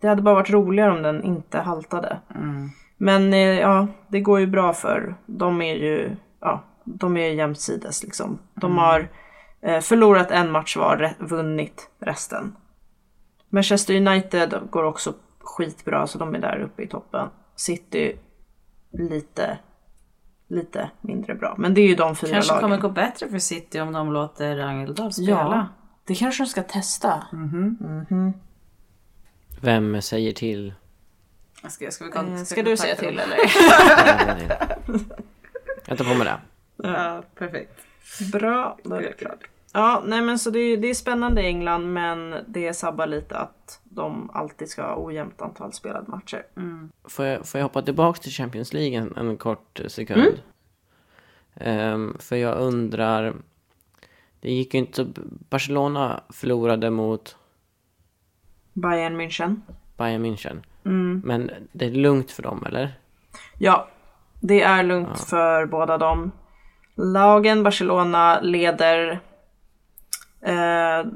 [SPEAKER 6] Det hade bara varit roligare om den inte haltade.
[SPEAKER 7] Mm.
[SPEAKER 6] Men eh, ja, det går
[SPEAKER 7] Mm.
[SPEAKER 6] ju bra för de är ju, ja, de är ju jämsides liksom. De har Eh, förlorat en match var, re- vunnit resten. Manchester United går också skitbra så de är där uppe i toppen. City lite, lite mindre bra. Men det är ju de fyra
[SPEAKER 7] Kanske
[SPEAKER 6] lagen.
[SPEAKER 7] kommer gå bättre för City om de låter Angeldal
[SPEAKER 6] ja, Mm.
[SPEAKER 7] spela.
[SPEAKER 6] det kanske de ska testa.
[SPEAKER 5] Vem säger till?
[SPEAKER 7] Ska, Eh, ska, vi kon-
[SPEAKER 6] Ska,
[SPEAKER 7] vi
[SPEAKER 6] du
[SPEAKER 7] kontakta
[SPEAKER 6] säga
[SPEAKER 7] dem?
[SPEAKER 6] till (laughs) eller?
[SPEAKER 5] Nej, nej. Jag tar på mig det.
[SPEAKER 7] Ja, perfekt.
[SPEAKER 6] Bra, då är det klart. Ja, nej men så det är, det är spännande i England men det sabbar lite att de alltid ska ha ojämnt antal spelade matcher.
[SPEAKER 5] Får jag, får jag hoppa tillbaka till Champions League en, en kort sekund? Ehm, för jag undrar... Det gick ju inte så... Barcelona förlorade mot
[SPEAKER 6] Bayern München.
[SPEAKER 5] Bayern München. Men det är lugnt för dem, eller?
[SPEAKER 6] Ja, det är lugnt för båda dem. Lagen Barcelona leder. Eh,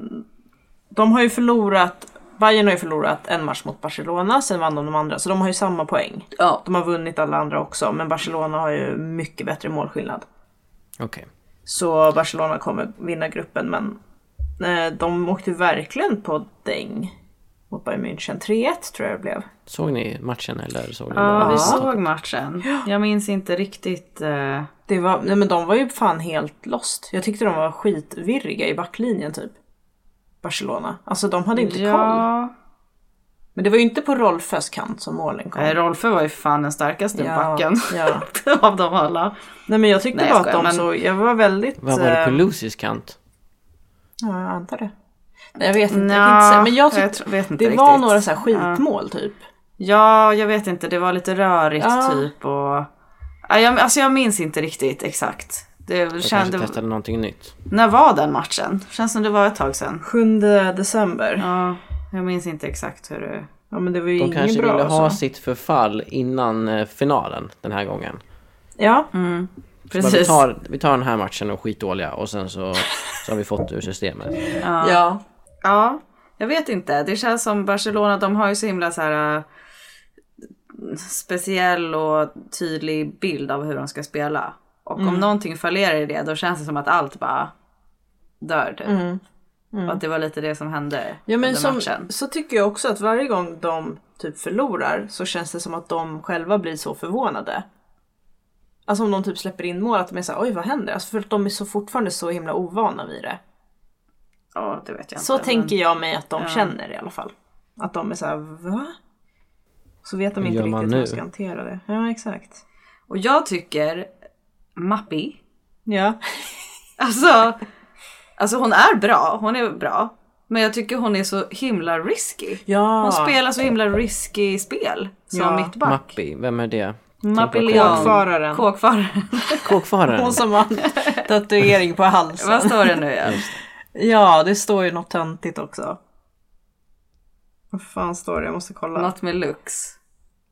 [SPEAKER 6] de har ju förlorat. Bayern har ju förlorat en match mot Barcelona, sen vann de de andra. Så de har ju samma poäng.
[SPEAKER 7] Ja.
[SPEAKER 6] De har vunnit alla andra också, men Barcelona har ju mycket bättre målskillnad.
[SPEAKER 5] Okej.
[SPEAKER 6] Så Barcelona kommer vinna gruppen men eh, de åkte verkligen på däng mot Bayern München. 3-1 tror jag det blev.
[SPEAKER 5] Såg ni matchen eller såg ni
[SPEAKER 7] Ja,
[SPEAKER 5] bara
[SPEAKER 7] vi
[SPEAKER 5] resultatet?
[SPEAKER 7] såg matchen. Jag minns inte riktigt. eh,
[SPEAKER 6] Det var, nej men de var ju fan helt lost. Jag tyckte de var skitvirriga i backlinjen typ. Barcelona. Alltså de hade inte koll.
[SPEAKER 7] ja.
[SPEAKER 6] Men det var ju inte på Rolfes kant som målen kom.
[SPEAKER 7] Nej, Rolfö var ju fan den starkaste
[SPEAKER 6] Ja,
[SPEAKER 7] backen
[SPEAKER 6] ja.
[SPEAKER 7] (laughs) av dem alla.
[SPEAKER 6] Nej men jag tyckte
[SPEAKER 7] Nej, jag
[SPEAKER 6] bara att
[SPEAKER 7] skojar,
[SPEAKER 6] de
[SPEAKER 7] men-
[SPEAKER 6] såg, jag var väldigt...
[SPEAKER 5] Vad var det på
[SPEAKER 6] eh,
[SPEAKER 5] Lucys kant?
[SPEAKER 6] Ja, jag antar det. Nej jag vet inte, jag
[SPEAKER 7] Nja,
[SPEAKER 6] kan inte säga. Men jag
[SPEAKER 7] jag
[SPEAKER 6] tyckte,
[SPEAKER 7] tr- vet inte
[SPEAKER 6] det var
[SPEAKER 7] riktigt.
[SPEAKER 6] några så här skitmål typ.
[SPEAKER 7] Ja, jag vet inte. Det var lite rörigt
[SPEAKER 6] Ja.
[SPEAKER 7] typ och... Ja, jag, alltså jag minns inte riktigt exakt. Det
[SPEAKER 5] Jag kanske
[SPEAKER 7] kände...
[SPEAKER 5] testade någonting nytt.
[SPEAKER 7] När var den matchen? Känns som det var ett tag sedan.
[SPEAKER 6] 7 december. Ja,
[SPEAKER 7] Ja, jag minns inte exakt hur det...
[SPEAKER 6] men det var ju
[SPEAKER 5] De
[SPEAKER 6] inget bra.
[SPEAKER 5] kanske ville ha
[SPEAKER 6] alltså.
[SPEAKER 5] sitt förfall innan eh, finalen den här gången.
[SPEAKER 6] Ja,
[SPEAKER 5] Bara, vi,
[SPEAKER 7] Precis.
[SPEAKER 5] tar, vi tar den här matchen och skitdåliga och sen så, så har vi fått ur systemet.
[SPEAKER 6] Ja.
[SPEAKER 7] Ja, jag vet inte. Det känns som Barcelona, de har ju så himla så här eh, speciell och tydlig bild av hur de ska spela. Och
[SPEAKER 6] Mm.
[SPEAKER 7] om någonting fallerar i det, då känns det som att allt bara dör typ. Och att det var lite det som hände
[SPEAKER 6] Mm. ja men
[SPEAKER 7] under
[SPEAKER 6] som,
[SPEAKER 7] matchen.
[SPEAKER 6] så tycker jag också att varje gång de typ förlorar så känns det som att de själva blir så förvånade. Alltså om de typ släpper in mål att de är såhär oj vad händer? Alltså för att de är så fortfarande så himla ovana vid det.
[SPEAKER 7] Ja, det vet jag
[SPEAKER 6] Så
[SPEAKER 7] inte.
[SPEAKER 6] tänker jag mig att de känner i alla fall. Att de är såhär va? Så vet de
[SPEAKER 5] Hur
[SPEAKER 6] inte
[SPEAKER 5] gör man
[SPEAKER 6] riktigt hur
[SPEAKER 5] nu?
[SPEAKER 6] de ska hantera det. Ja exakt.
[SPEAKER 7] Och jag tycker Mappi,
[SPEAKER 6] Ja.
[SPEAKER 7] alltså, alltså hon är bra, hon är bra. Men jag tycker hon är så himla risky.
[SPEAKER 5] (laughs)
[SPEAKER 6] Ja.
[SPEAKER 7] Hon spelar så himla risky spel som
[SPEAKER 6] Ja.
[SPEAKER 7] mittback.
[SPEAKER 5] Mappi, vem är det?
[SPEAKER 7] Mappi
[SPEAKER 5] Tänk på
[SPEAKER 7] Leon.
[SPEAKER 6] Typ Kåkfararen.
[SPEAKER 7] Kåkfararen. (laughs)
[SPEAKER 5] Kåkfararen.
[SPEAKER 6] Hon som har en tatuering på halsen.
[SPEAKER 7] Vad står det nu igen?
[SPEAKER 6] Ja, det står ju något töntigt också. Vad fan står det? Jag måste kolla.
[SPEAKER 7] Något med Lux.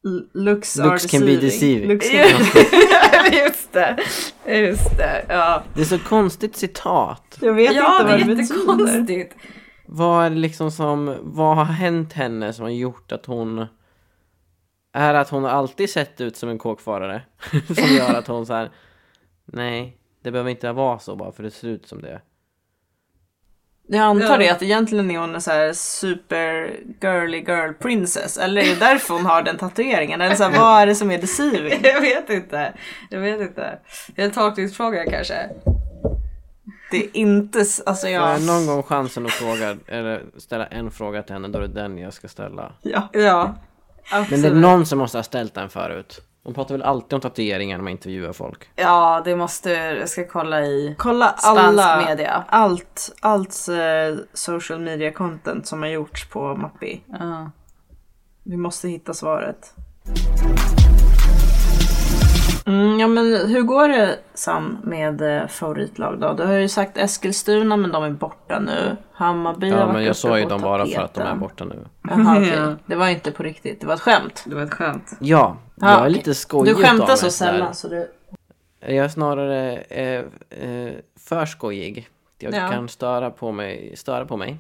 [SPEAKER 6] L- Lux, are
[SPEAKER 5] Lux can be deceiving.
[SPEAKER 6] Lux
[SPEAKER 7] (laughs)
[SPEAKER 6] can be-
[SPEAKER 7] Just det. Just det. Ja,
[SPEAKER 5] Det är så konstigt citat.
[SPEAKER 6] Jag vet
[SPEAKER 7] ja
[SPEAKER 6] inte
[SPEAKER 7] det är
[SPEAKER 6] vad det betyder.
[SPEAKER 7] jättekonstigt.
[SPEAKER 5] Vad är det liksom som, vad har hänt henne som har gjort att hon är det att hon alltid sett ut som en kåkfarare? (laughs) som gör att hon så här. nej, det behöver inte vara så bara för det ser ut som det.
[SPEAKER 6] Jag antar
[SPEAKER 7] Ja.
[SPEAKER 6] det att egentligen är hon en så här super girly girl princess. Eller är det därför hon har den tatueringen? Eller så här, vad är det som är deceiving?
[SPEAKER 7] (laughs) Jag vet inte. Jag vet inte. Det är en tolkningsfråga kanske.
[SPEAKER 6] Det är inte... s- Alltså
[SPEAKER 5] Får
[SPEAKER 6] jag...
[SPEAKER 5] jag någon gång chansen att fråga, eller ställa en fråga till henne, då är det den jag ska ställa.
[SPEAKER 6] Ja.
[SPEAKER 7] Ja.
[SPEAKER 5] Men det är någon som måste ha ställt den förut. Hon pratar väl alltid om tatueringar när man intervjuar folk.
[SPEAKER 7] Ja, det måste... Jag ska kolla i...
[SPEAKER 6] Kolla
[SPEAKER 7] Spansk
[SPEAKER 6] alla...
[SPEAKER 7] media.
[SPEAKER 6] Allt, allt eh, social media content som har gjorts på Mappi.
[SPEAKER 7] Ja.
[SPEAKER 6] Vi måste hitta svaret. Mm, ja men hur går det Sam med eh, favoritlag då? Du har ju sagt Eskilstuna men de är borta nu. Hammarby har
[SPEAKER 5] Ja,
[SPEAKER 6] varit
[SPEAKER 5] men jag
[SPEAKER 6] uppe
[SPEAKER 5] sa ju
[SPEAKER 6] på
[SPEAKER 5] dem bara för att de är
[SPEAKER 6] tapeten.
[SPEAKER 5] borta nu.
[SPEAKER 6] Jaha, okej.
[SPEAKER 7] Ja.
[SPEAKER 6] Det var inte på riktigt, det var ett skämt.
[SPEAKER 7] Mm. Det var ett skämt.
[SPEAKER 5] Ja, jag
[SPEAKER 6] Ja,
[SPEAKER 5] är
[SPEAKER 6] okej.
[SPEAKER 5] lite skojig
[SPEAKER 6] Du skämtar
[SPEAKER 5] utav
[SPEAKER 6] så
[SPEAKER 5] mig
[SPEAKER 6] sällan
[SPEAKER 5] där.
[SPEAKER 6] så du...
[SPEAKER 5] Jag är snarare eh, eh, för skojig. Jag
[SPEAKER 6] Ja.
[SPEAKER 5] kan störa på mig. Störa på
[SPEAKER 6] (laughs)
[SPEAKER 5] mig.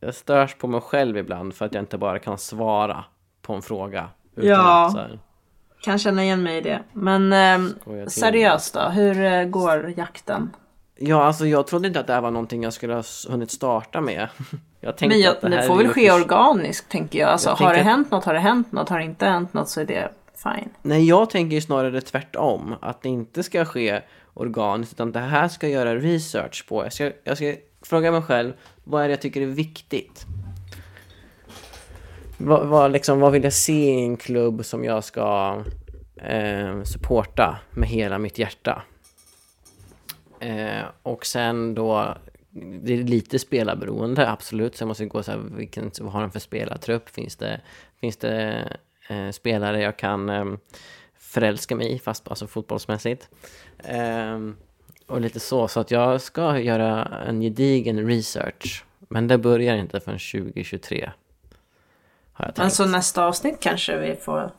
[SPEAKER 5] jag störs på mig själv ibland för att jag inte bara kan svara på en fråga. Utan
[SPEAKER 6] Ja.
[SPEAKER 5] att, så här,
[SPEAKER 6] kan känna igen mig i det. Men ehm,
[SPEAKER 5] Skoja till.
[SPEAKER 6] seriöst då, hur eh, går jakten?
[SPEAKER 5] Ja, alltså jag trodde inte att det här var någonting jag skulle ha s- hunnit starta med. (laughs) Jag tänkte
[SPEAKER 6] Men jag,
[SPEAKER 5] att det här
[SPEAKER 6] det får
[SPEAKER 5] är
[SPEAKER 6] väl
[SPEAKER 5] ju-
[SPEAKER 6] ske organiskt tänker jag. Alltså,
[SPEAKER 5] Jag
[SPEAKER 6] har det
[SPEAKER 5] tänker att-
[SPEAKER 6] hänt något har det hänt något. Har det inte hänt något så är det fine.
[SPEAKER 5] Nej, jag tänker ju snarare tvärtom. Att det inte ska ske organiskt, utan det här ska jag göra research på. Jag ska, jag ska fråga mig själv, vad är det jag tycker är viktigt? Vad, vad, liksom, vad vill jag se i en klubb som jag ska eh, supporta med hela mitt hjärta? Eh, och sen då, det är lite spelarberoende, absolut. Så jag måste gå så här, vilken, vad har de för spelartrupp? Finns det, finns det eh, spelare jag kan eh, förälska mig i, fast alltså fotbollsmässigt? Eh, och lite så, så att jag ska göra en gedigen research. Men det börjar inte förrän 2023. Har jag tänkt.
[SPEAKER 6] Men så nästa avsnitt kanske vi får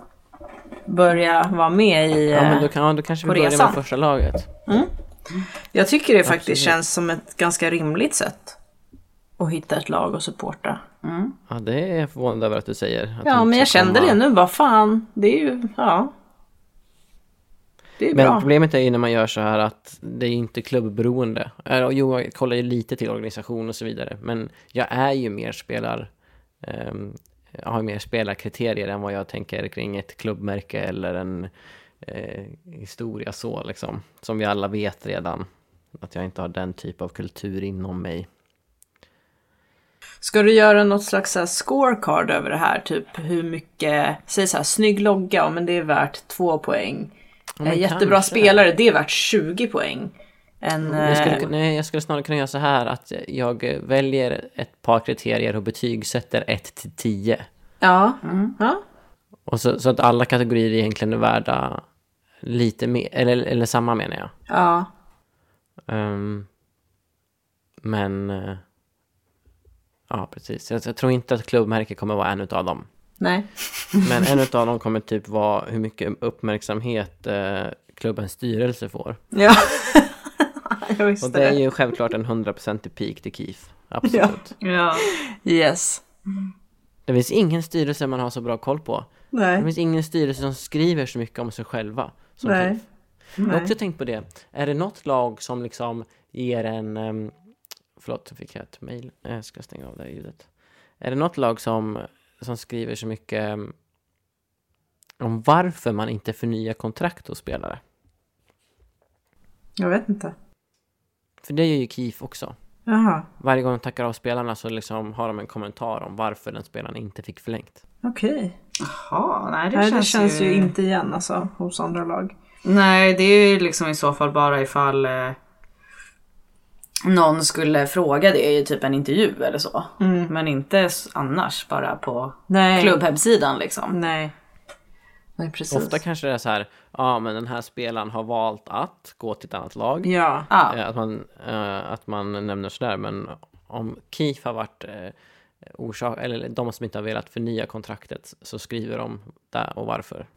[SPEAKER 6] börja vara med i.
[SPEAKER 5] ja, men
[SPEAKER 6] eh,
[SPEAKER 5] då, kan, då kanske vi
[SPEAKER 6] på
[SPEAKER 5] börjar
[SPEAKER 6] resan.
[SPEAKER 5] med första laget.
[SPEAKER 6] Jag tycker det faktiskt känns som ett ganska rimligt sätt. Att hitta ett lag och supporta. Typ
[SPEAKER 5] Ja, det är jag förvånad över att du säger. Att du
[SPEAKER 6] Ja,
[SPEAKER 5] inte
[SPEAKER 6] men jag
[SPEAKER 5] ska
[SPEAKER 6] kände
[SPEAKER 5] komma-
[SPEAKER 6] det nu. Vad fan, det är ju, ja. Det är
[SPEAKER 5] Men
[SPEAKER 6] bra.
[SPEAKER 5] problemet är ju när man gör så här att det är inte klubbberoende. Eh, och Jo, jag kollar ju lite till organisation och så vidare, men jag är ju mer spelar... ehm, jag har ju mer spelarkriterier än vad jag tänker kring ett klubbmärke eller en eh, historia så liksom. Som vi alla vet redan, att jag inte har den typ av kultur inom mig.
[SPEAKER 6] Ska du göra något slags så här scorecard över det här? Typ hur mycket, säg så här, snygg logga, ja, men det är värt två poäng.
[SPEAKER 5] men
[SPEAKER 6] Eh, Jättebra
[SPEAKER 5] kanske.
[SPEAKER 6] spelare, det är värt 20 poäng. En,
[SPEAKER 5] Jag skulle,
[SPEAKER 6] eh,
[SPEAKER 5] kun- nej, jag skulle snarare kunna göra så här att jag eh, väljer ett par kriterier och betygsätter 1 till 10.
[SPEAKER 6] ja,
[SPEAKER 7] Mm.
[SPEAKER 6] ja,
[SPEAKER 5] Och så, så att alla kategorier egentligen är värda lite mer, eller, eller samma menar jag.
[SPEAKER 6] ja.
[SPEAKER 5] Ehm, men... eh, ja, precis. Jag, jag tror inte att klubbmärke kommer vara en utav dem.
[SPEAKER 6] Nej.
[SPEAKER 5] (laughs) Men en utav dem kommer typ vara hur mycket uppmärksamhet eh, klubbens styrelse får.
[SPEAKER 6] Ja. (laughs) jag
[SPEAKER 5] Och
[SPEAKER 6] visste
[SPEAKER 5] det är
[SPEAKER 6] det.
[SPEAKER 5] ju självklart en 100% peak till KIF. Absolut.
[SPEAKER 7] Ja.
[SPEAKER 6] Yes.
[SPEAKER 5] Det finns ingen styrelse man har så bra koll på. Det
[SPEAKER 6] Nej.
[SPEAKER 5] finns ingen styrelse som skriver så mycket om sig själva som
[SPEAKER 6] Nej.
[SPEAKER 5] KIF. Jag har också tänkt på det. Är det något lag som liksom ger en... ehm, Förlåt, så fick jag ett mejl. Jag ska stänga av det här ljudet. Är det något lag som, som skriver så mycket ehm, om varför man inte förnyar kontrakt hos spelare?
[SPEAKER 6] Jag vet inte.
[SPEAKER 5] För det gör ju KIF också.
[SPEAKER 6] Jaha,
[SPEAKER 5] Varje gång de tackar av spelarna så liksom har de en kommentar om varför den spelaren inte fick förlängt.
[SPEAKER 6] okej.
[SPEAKER 7] Ja, nej, det,
[SPEAKER 6] Nej,
[SPEAKER 7] känns,
[SPEAKER 6] det känns ju inte igen alltså hos andra lag.
[SPEAKER 7] Nej, det är ju liksom i så fall bara ifall eh, någon skulle fråga det i typ en intervju eller så. Men inte s- annars bara på
[SPEAKER 6] Mm. Nej.
[SPEAKER 7] klubbhemsidan liksom.
[SPEAKER 6] Nej. Nej, precis.
[SPEAKER 5] Ofta kanske det är så här, ja men den här spelaren har valt att gå till ett annat lag.
[SPEAKER 6] Ja.
[SPEAKER 7] Ja.
[SPEAKER 5] Eh, Att man, eh, att man nämner sådär, men om KIF har varit eh, orsak, eller de som inte har velat förnya kontraktet, så skriver de där och varför.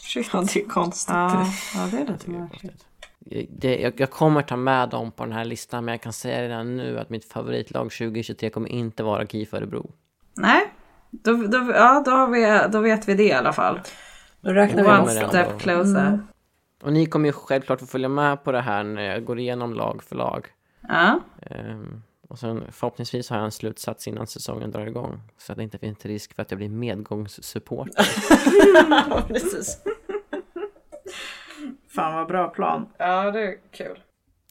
[SPEAKER 6] Shit. Ja, det är konstigt.
[SPEAKER 7] Ja, ja, det är lite
[SPEAKER 5] Det är
[SPEAKER 7] märkligt.
[SPEAKER 5] konstigt. Eh, Det, jag, jag kommer ta med dem på den här listan, men jag kan säga redan nu att mitt favoritlag 2023 kommer inte vara KIF Örebro.
[SPEAKER 7] Nej, då, då, ja, då, har vi, då vet vi det i alla fall.
[SPEAKER 6] Då räknar vi Mm.
[SPEAKER 7] One
[SPEAKER 5] kommer
[SPEAKER 6] bort
[SPEAKER 5] det.
[SPEAKER 7] step closer.
[SPEAKER 5] Och ni kommer ju självklart få följa med på det här när jag går igenom lag för lag. (laughs)
[SPEAKER 7] Ja.
[SPEAKER 5] Ehm, och sen förhoppningsvis har jag en slutsats innan säsongen drar igång. Så att det inte finns risk för att jag blir medgångssupport.
[SPEAKER 6] Precis. Fan vad bra plan.
[SPEAKER 7] ja, det är kul.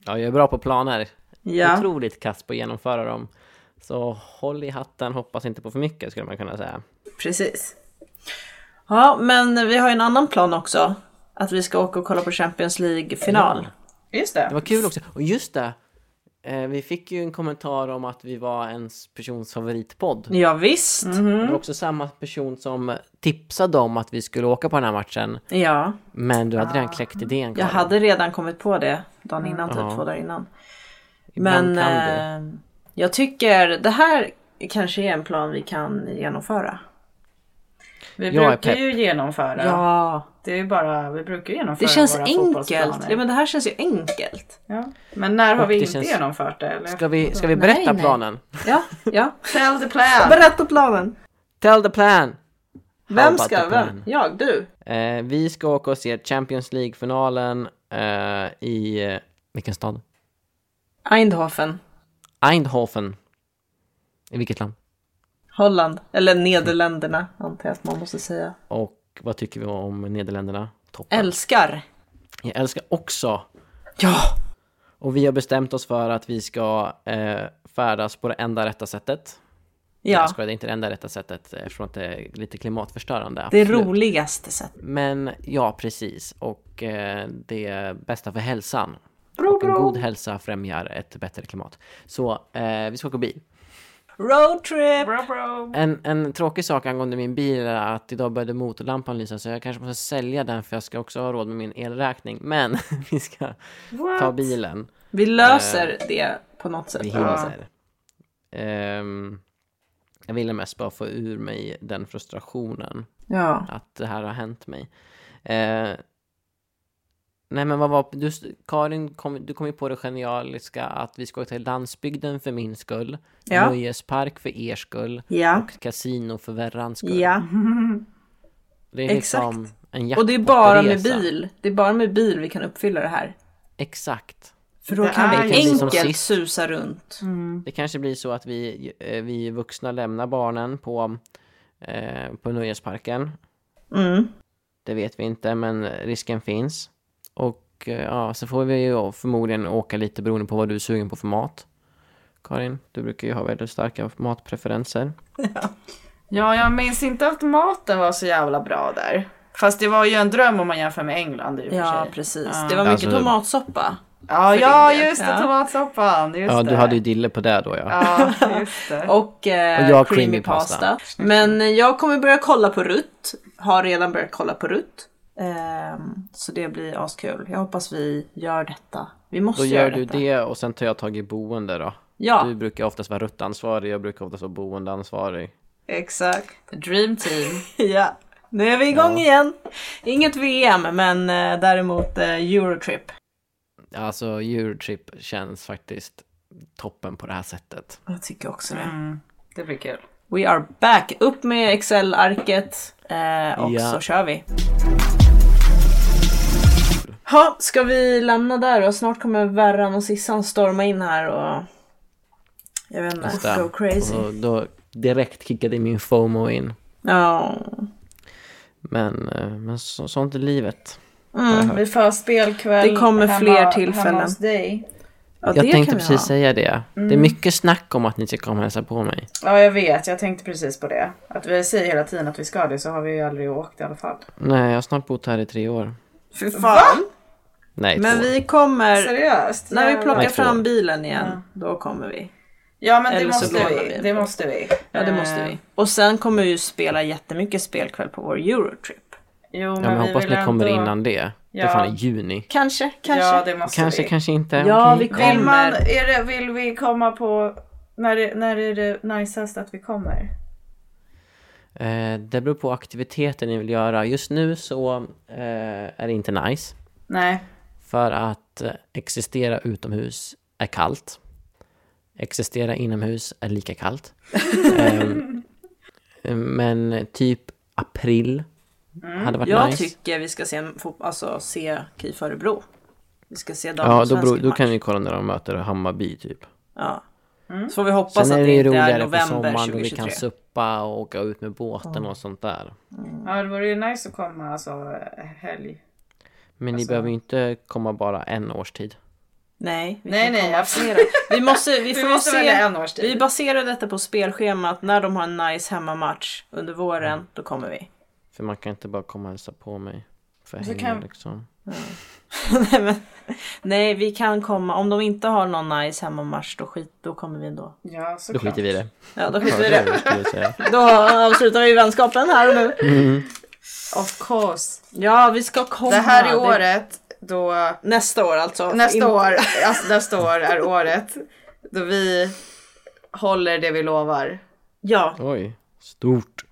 [SPEAKER 5] Ja, jag är bra på planer.
[SPEAKER 6] Ja.
[SPEAKER 5] Otroligt kass på att genomföra dem. Så håll i hatten, hoppas inte på för mycket skulle man kunna säga.
[SPEAKER 6] Precis. Ja, men vi har ju en annan plan också. Att vi ska åka och kolla på Champions League-final.
[SPEAKER 7] Just
[SPEAKER 5] Det var kul också. Och just det! Eh, vi fick ju en kommentar om att vi var en persons favoritpodd.
[SPEAKER 6] Ja, visst.
[SPEAKER 7] Mhm.
[SPEAKER 5] Det var också samma person som tipsade om att vi skulle åka på den här matchen.
[SPEAKER 6] Ja,
[SPEAKER 5] Men du hade redan kläckt idén
[SPEAKER 6] Ah. jag
[SPEAKER 5] Karin.
[SPEAKER 6] hade redan kommit på det dagen innan, typ
[SPEAKER 5] Ja.
[SPEAKER 6] två dagar innan.
[SPEAKER 5] Ibland
[SPEAKER 6] Men
[SPEAKER 5] kan det.
[SPEAKER 6] eh, jag tycker det här kanske är en plan vi kan genomföra.
[SPEAKER 7] Vi
[SPEAKER 5] Jag är
[SPEAKER 7] brukar
[SPEAKER 5] pepp.
[SPEAKER 7] ju genomföra.
[SPEAKER 6] Ja,
[SPEAKER 7] Det är ju bara, vi brukar genomföra
[SPEAKER 6] det känns
[SPEAKER 7] våra
[SPEAKER 6] enkelt.
[SPEAKER 7] fotbollsplaner.
[SPEAKER 6] Ja, men det här känns ju enkelt.
[SPEAKER 7] Ja. Men när har
[SPEAKER 5] Och
[SPEAKER 7] vi
[SPEAKER 5] det
[SPEAKER 7] inte
[SPEAKER 5] känns-
[SPEAKER 7] genomfört det? Eller?
[SPEAKER 5] Ska vi, ska vi berätta
[SPEAKER 2] Nej, nej.
[SPEAKER 5] planen?
[SPEAKER 6] Ja, ja.
[SPEAKER 7] Tell the plan!
[SPEAKER 6] Berätta planen.
[SPEAKER 5] Tell the plan!
[SPEAKER 6] Vem
[SPEAKER 5] about
[SPEAKER 6] ska,
[SPEAKER 5] the
[SPEAKER 6] vem?
[SPEAKER 5] plan?
[SPEAKER 6] Jag, du.
[SPEAKER 5] Eh, vi ska åka och se Champions League-finalen eh, i... eh, Vilken stad?
[SPEAKER 6] Eindhoven,
[SPEAKER 5] Eindhoven. I vilket land?
[SPEAKER 6] Holland, eller Nederländerna antar jag att man måste säga.
[SPEAKER 5] Och vad tycker vi om Nederländerna? Toppen.
[SPEAKER 6] Älskar!
[SPEAKER 5] Jag älskar också.
[SPEAKER 6] Ja!
[SPEAKER 5] Och vi har bestämt oss för att vi ska eh, färdas på det enda rätta sättet.
[SPEAKER 6] Ja,
[SPEAKER 5] Jag skojar, det är inte det enda rätta sättet eftersom att det är lite klimatförstörande.
[SPEAKER 6] det
[SPEAKER 5] absolut.
[SPEAKER 6] roligaste sättet.
[SPEAKER 5] Men ja, precis. Och eh, det bästa för hälsan. Och en god hälsa främjar ett bättre klimat. Så eh, vi ska åka bil.
[SPEAKER 6] Roadtrip!
[SPEAKER 5] En, en tråkig sak angående min bil är att idag började motorlampan lysa så jag kanske måste sälja den för jag ska också ha råd med min elräkning. Men (laughs) vi ska ta bilen.
[SPEAKER 6] Vi löser det på något sätt.
[SPEAKER 5] Vi hinner. Ehm, jag ville mest bara få ur mig den frustrationen
[SPEAKER 6] Ja.
[SPEAKER 5] att det här har hänt mig. Eh, nej men vad var, du, Karin, kom, du kom ju på det genialiska att vi ska till landsbygden för min skull,
[SPEAKER 6] Ja.
[SPEAKER 5] nöjespark för er skull
[SPEAKER 6] Ja.
[SPEAKER 5] och kasino för Verrans skull.
[SPEAKER 6] Ja.
[SPEAKER 5] det är
[SPEAKER 6] exakt.
[SPEAKER 5] liksom en
[SPEAKER 6] Och det är bara med
[SPEAKER 5] jackpotresa.
[SPEAKER 6] bil. Det är bara med bil vi kan uppfylla det här.
[SPEAKER 5] Exakt.
[SPEAKER 6] För då
[SPEAKER 7] Det
[SPEAKER 6] kan
[SPEAKER 7] är
[SPEAKER 6] vi
[SPEAKER 5] ju som
[SPEAKER 6] enkelt
[SPEAKER 5] sist.
[SPEAKER 6] susa runt.
[SPEAKER 5] Det kanske blir så att vi, eh, vi vuxna lämnar barnen på, eh, på nöjesparken.
[SPEAKER 6] Mm.
[SPEAKER 5] Det vet vi inte, men risken finns. Och eh, ja, så får vi ju förmodligen åka lite beroende på vad du är sugen på för mat. Karin, du brukar ju ha väldigt starka matpreferenser.
[SPEAKER 7] Ja, jag minns inte att maten var så jävla bra där. Fast det var ju en dröm om man jämför med England i och för
[SPEAKER 6] Ja,
[SPEAKER 7] sig.
[SPEAKER 6] precis.
[SPEAKER 7] Ja.
[SPEAKER 6] Det var mycket
[SPEAKER 5] Alltså-
[SPEAKER 6] tomatsoppa.
[SPEAKER 7] Ja, ja
[SPEAKER 6] din del.
[SPEAKER 7] just det.
[SPEAKER 6] Ja.
[SPEAKER 7] Tomatsoppan. Just
[SPEAKER 5] Ja,
[SPEAKER 7] det.
[SPEAKER 5] du hade ju dille på det då ja.
[SPEAKER 7] Ja, just
[SPEAKER 6] (laughs)
[SPEAKER 7] det.
[SPEAKER 6] Och, eh,
[SPEAKER 5] Och jag
[SPEAKER 6] creamy,
[SPEAKER 5] creamy pasta.
[SPEAKER 6] pasta. Men eh, jag kommer börja kolla på Rutt. Har redan börjat kolla på Rutt. Ehm, så det blir askul. Jag hoppas vi gör detta. Vi måste
[SPEAKER 5] Då gör
[SPEAKER 6] göra
[SPEAKER 5] du
[SPEAKER 6] detta.
[SPEAKER 5] det och sen tar jag tag i boende då.
[SPEAKER 6] Ja,
[SPEAKER 5] Du brukar oftast vara ruttansvarig, jag brukar oftast vara boendeansvarig.
[SPEAKER 6] exakt. (laughs)
[SPEAKER 7] Dream team.
[SPEAKER 6] Ja. Nu är vi igång
[SPEAKER 5] Ja.
[SPEAKER 6] igen. Inget VM, men eh, däremot eh, Eurotrip.
[SPEAKER 5] Alltså, Eurotrip känns faktiskt toppen på det här sättet.
[SPEAKER 6] Jag tycker också det.
[SPEAKER 7] Det blir kul.
[SPEAKER 6] We are back! Upp med Excel-arket eh, och
[SPEAKER 5] Ja.
[SPEAKER 6] så kör vi. Ha, ska vi lämna där och snart kommer Värran och Sissan storma in här och jag vet
[SPEAKER 5] Just
[SPEAKER 6] inte,
[SPEAKER 5] det. Mm.
[SPEAKER 6] go crazy.
[SPEAKER 5] Och då direkt kickade min FOMO in.
[SPEAKER 6] Ja, Mm,
[SPEAKER 5] Men, eh, men så, sånt är livet.
[SPEAKER 6] mm.
[SPEAKER 7] Vi får ha spelkväll
[SPEAKER 6] Det kommer
[SPEAKER 7] hemma-
[SPEAKER 6] fler tillfällen.
[SPEAKER 7] hemma hos dig.
[SPEAKER 6] ja,
[SPEAKER 5] jag
[SPEAKER 6] det
[SPEAKER 5] tänkte
[SPEAKER 6] kan vi
[SPEAKER 5] precis
[SPEAKER 6] ha.
[SPEAKER 5] säga
[SPEAKER 6] Mm.
[SPEAKER 5] det. Det är mycket snack om att ni ska komma och hälsa på mig.
[SPEAKER 7] Ja, jag vet. Jag tänkte precis på det. Att vi säger hela tiden att vi ska det så har vi ju aldrig åkt i alla fall.
[SPEAKER 5] Nej, jag har snart bott här i tre år.
[SPEAKER 6] Fy fan!
[SPEAKER 5] Nej,
[SPEAKER 6] Men
[SPEAKER 5] två år.
[SPEAKER 6] vi kommer,
[SPEAKER 7] Seriöst?
[SPEAKER 6] när vi
[SPEAKER 7] Jävlar.
[SPEAKER 6] plockar
[SPEAKER 5] Nej, två.
[SPEAKER 6] fram bilen igen, då kommer vi.
[SPEAKER 7] Ja, men det
[SPEAKER 6] Eller så
[SPEAKER 7] måste
[SPEAKER 6] lånar
[SPEAKER 7] vi.
[SPEAKER 6] vi.
[SPEAKER 7] Det måste vi. Eh,
[SPEAKER 6] Ja, det måste vi. Och sen kommer vi ju spela jättemycket spelkväll på vår Eurotrip.
[SPEAKER 7] Jo,
[SPEAKER 5] Ja, men jag
[SPEAKER 7] vi
[SPEAKER 5] hoppas
[SPEAKER 7] vill
[SPEAKER 5] ni kommer
[SPEAKER 7] ändå-
[SPEAKER 5] innan det. Det
[SPEAKER 7] Ja.
[SPEAKER 5] är fan i juni.
[SPEAKER 6] Kanske, kanske.
[SPEAKER 7] Ja, det måste
[SPEAKER 5] Kanske,
[SPEAKER 7] vi.
[SPEAKER 5] kanske inte.
[SPEAKER 6] Alltså, Ja,
[SPEAKER 5] okej.
[SPEAKER 6] vi
[SPEAKER 7] Vill, man,
[SPEAKER 6] kommer.
[SPEAKER 7] är det, vill vi komma på... När, är- när är det najsast att vi kommer?
[SPEAKER 5] Eh, det beror på aktiviteten ni vill göra. Just nu så eh, är det inte nice.
[SPEAKER 7] Nej.
[SPEAKER 5] För att eh, existera utomhus är kallt. Existera inomhus är lika
[SPEAKER 6] (laughs)
[SPEAKER 5] kallt. Ehm, men typ april
[SPEAKER 6] Mm.
[SPEAKER 5] hade varit
[SPEAKER 6] Jag
[SPEAKER 5] nice.
[SPEAKER 6] tycker vi ska se, en fot- alltså, se KIF Örebro. Vi ska se
[SPEAKER 5] Ja,
[SPEAKER 6] dagens
[SPEAKER 5] då, beror,
[SPEAKER 6] svenska
[SPEAKER 5] då
[SPEAKER 6] match.
[SPEAKER 5] kan vi kolla när de möter Hammarby typ.
[SPEAKER 6] Ja. Så får vi hoppas
[SPEAKER 5] Sen är det
[SPEAKER 6] att det
[SPEAKER 5] ju
[SPEAKER 6] inte är
[SPEAKER 5] roligare på
[SPEAKER 6] november
[SPEAKER 5] sommaren då vi
[SPEAKER 6] 2023.
[SPEAKER 5] kan suppa och åka ut med båten och sånt där.
[SPEAKER 7] Ja, det vore ju nice att komma alltså helg.
[SPEAKER 5] Men
[SPEAKER 6] Alltså-
[SPEAKER 5] ni behöver ju inte komma bara en årstid.
[SPEAKER 6] Nej, vi
[SPEAKER 7] Nej,
[SPEAKER 6] kan
[SPEAKER 7] nej,
[SPEAKER 6] komma
[SPEAKER 7] absolut.
[SPEAKER 6] flera. Vi måste, vi
[SPEAKER 7] (laughs) Vi
[SPEAKER 6] får
[SPEAKER 7] måste
[SPEAKER 6] se.
[SPEAKER 7] välja en årstid.
[SPEAKER 6] Vi baserar detta på spelschemat. När de har en nice hemmamatch under
[SPEAKER 5] Mm.
[SPEAKER 6] våren, då kommer vi. (laughs)
[SPEAKER 5] För man kan inte bara komma och hälsa på mig. För
[SPEAKER 7] Så
[SPEAKER 5] hänga
[SPEAKER 7] kan-
[SPEAKER 5] liksom.
[SPEAKER 6] nej, men, nej, vi kan komma. Om de inte har någon nice hemmamatch, då, skit, då kommer vi ändå.
[SPEAKER 7] Ja,
[SPEAKER 5] Då
[SPEAKER 7] såklart.
[SPEAKER 5] skiter vi i det.
[SPEAKER 6] Ja, då
[SPEAKER 5] Ja,
[SPEAKER 6] skiter vi i
[SPEAKER 5] det är det
[SPEAKER 6] det.
[SPEAKER 5] vi skulle säga.
[SPEAKER 6] Då avslutar vi vänskapen här och nu.
[SPEAKER 5] Mm.
[SPEAKER 7] Of course.
[SPEAKER 6] Ja, vi ska komma.
[SPEAKER 7] Det här är året då...
[SPEAKER 6] Nästa år alltså.
[SPEAKER 7] Nästa
[SPEAKER 6] In-
[SPEAKER 7] år, alltså nästa år är året då vi håller det vi lovar.
[SPEAKER 6] (laughs) Ja,
[SPEAKER 5] Oj, stort.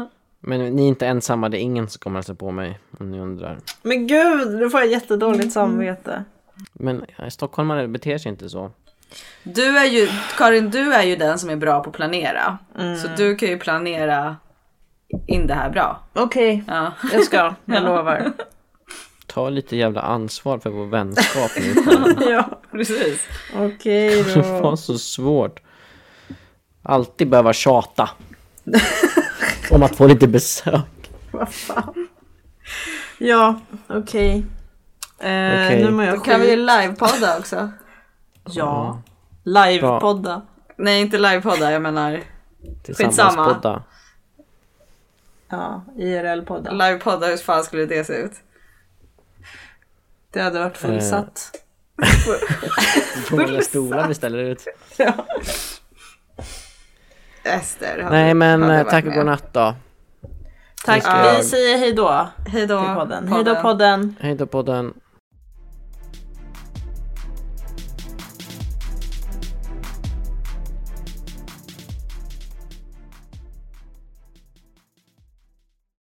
[SPEAKER 5] (laughs) Men ni är inte ensamma, det är ingen som kommer hälsa på mig om ni undrar.
[SPEAKER 6] men gud, nu får jag
[SPEAKER 7] Mm.
[SPEAKER 6] jättedåligt samvete.
[SPEAKER 5] Men ja, stockholmare beter sig inte så.
[SPEAKER 7] Du är ju, Karin, du är ju den som är bra på att planera.
[SPEAKER 6] Mm.
[SPEAKER 7] Så du kan ju planera in det här bra. (laughs)
[SPEAKER 6] Okej,
[SPEAKER 7] Ja.
[SPEAKER 6] jag ska, jag lovar.
[SPEAKER 5] ta lite jävla ansvar för vår vänskap
[SPEAKER 7] (laughs)
[SPEAKER 5] nu. fan.
[SPEAKER 6] ja, precis. (laughs) Okej
[SPEAKER 5] Det var så svårt. Alltid behöva
[SPEAKER 7] (laughs)
[SPEAKER 5] tjata. Om att få lite besök.
[SPEAKER 6] Vad fan. Ja, okej. Eh,
[SPEAKER 5] Okej.
[SPEAKER 6] Nu mår jag
[SPEAKER 7] Kan vi
[SPEAKER 6] skit. (laughs)
[SPEAKER 7] livepodda också?
[SPEAKER 6] Ja. Livepodda.
[SPEAKER 7] Nej, inte livepodda, jag menar
[SPEAKER 5] Tillsammans
[SPEAKER 7] Skitsamma.
[SPEAKER 5] podda.
[SPEAKER 6] Ja, IRL-podda.
[SPEAKER 7] livepodda, hur fan skulle det se ut?
[SPEAKER 6] Det hade varit fullsatt.
[SPEAKER 5] Hur många stolar vi ställer
[SPEAKER 7] (laughs)
[SPEAKER 5] ut.
[SPEAKER 7] Ester hade,
[SPEAKER 5] Nej men
[SPEAKER 7] hade
[SPEAKER 5] eh,
[SPEAKER 7] varit
[SPEAKER 5] tack och
[SPEAKER 7] med.
[SPEAKER 5] godnatt då.
[SPEAKER 6] Tack,
[SPEAKER 5] Ja.
[SPEAKER 6] vi säger hej då.
[SPEAKER 7] Hej då
[SPEAKER 6] Till podden. Hej då podden.
[SPEAKER 5] Hej då podden.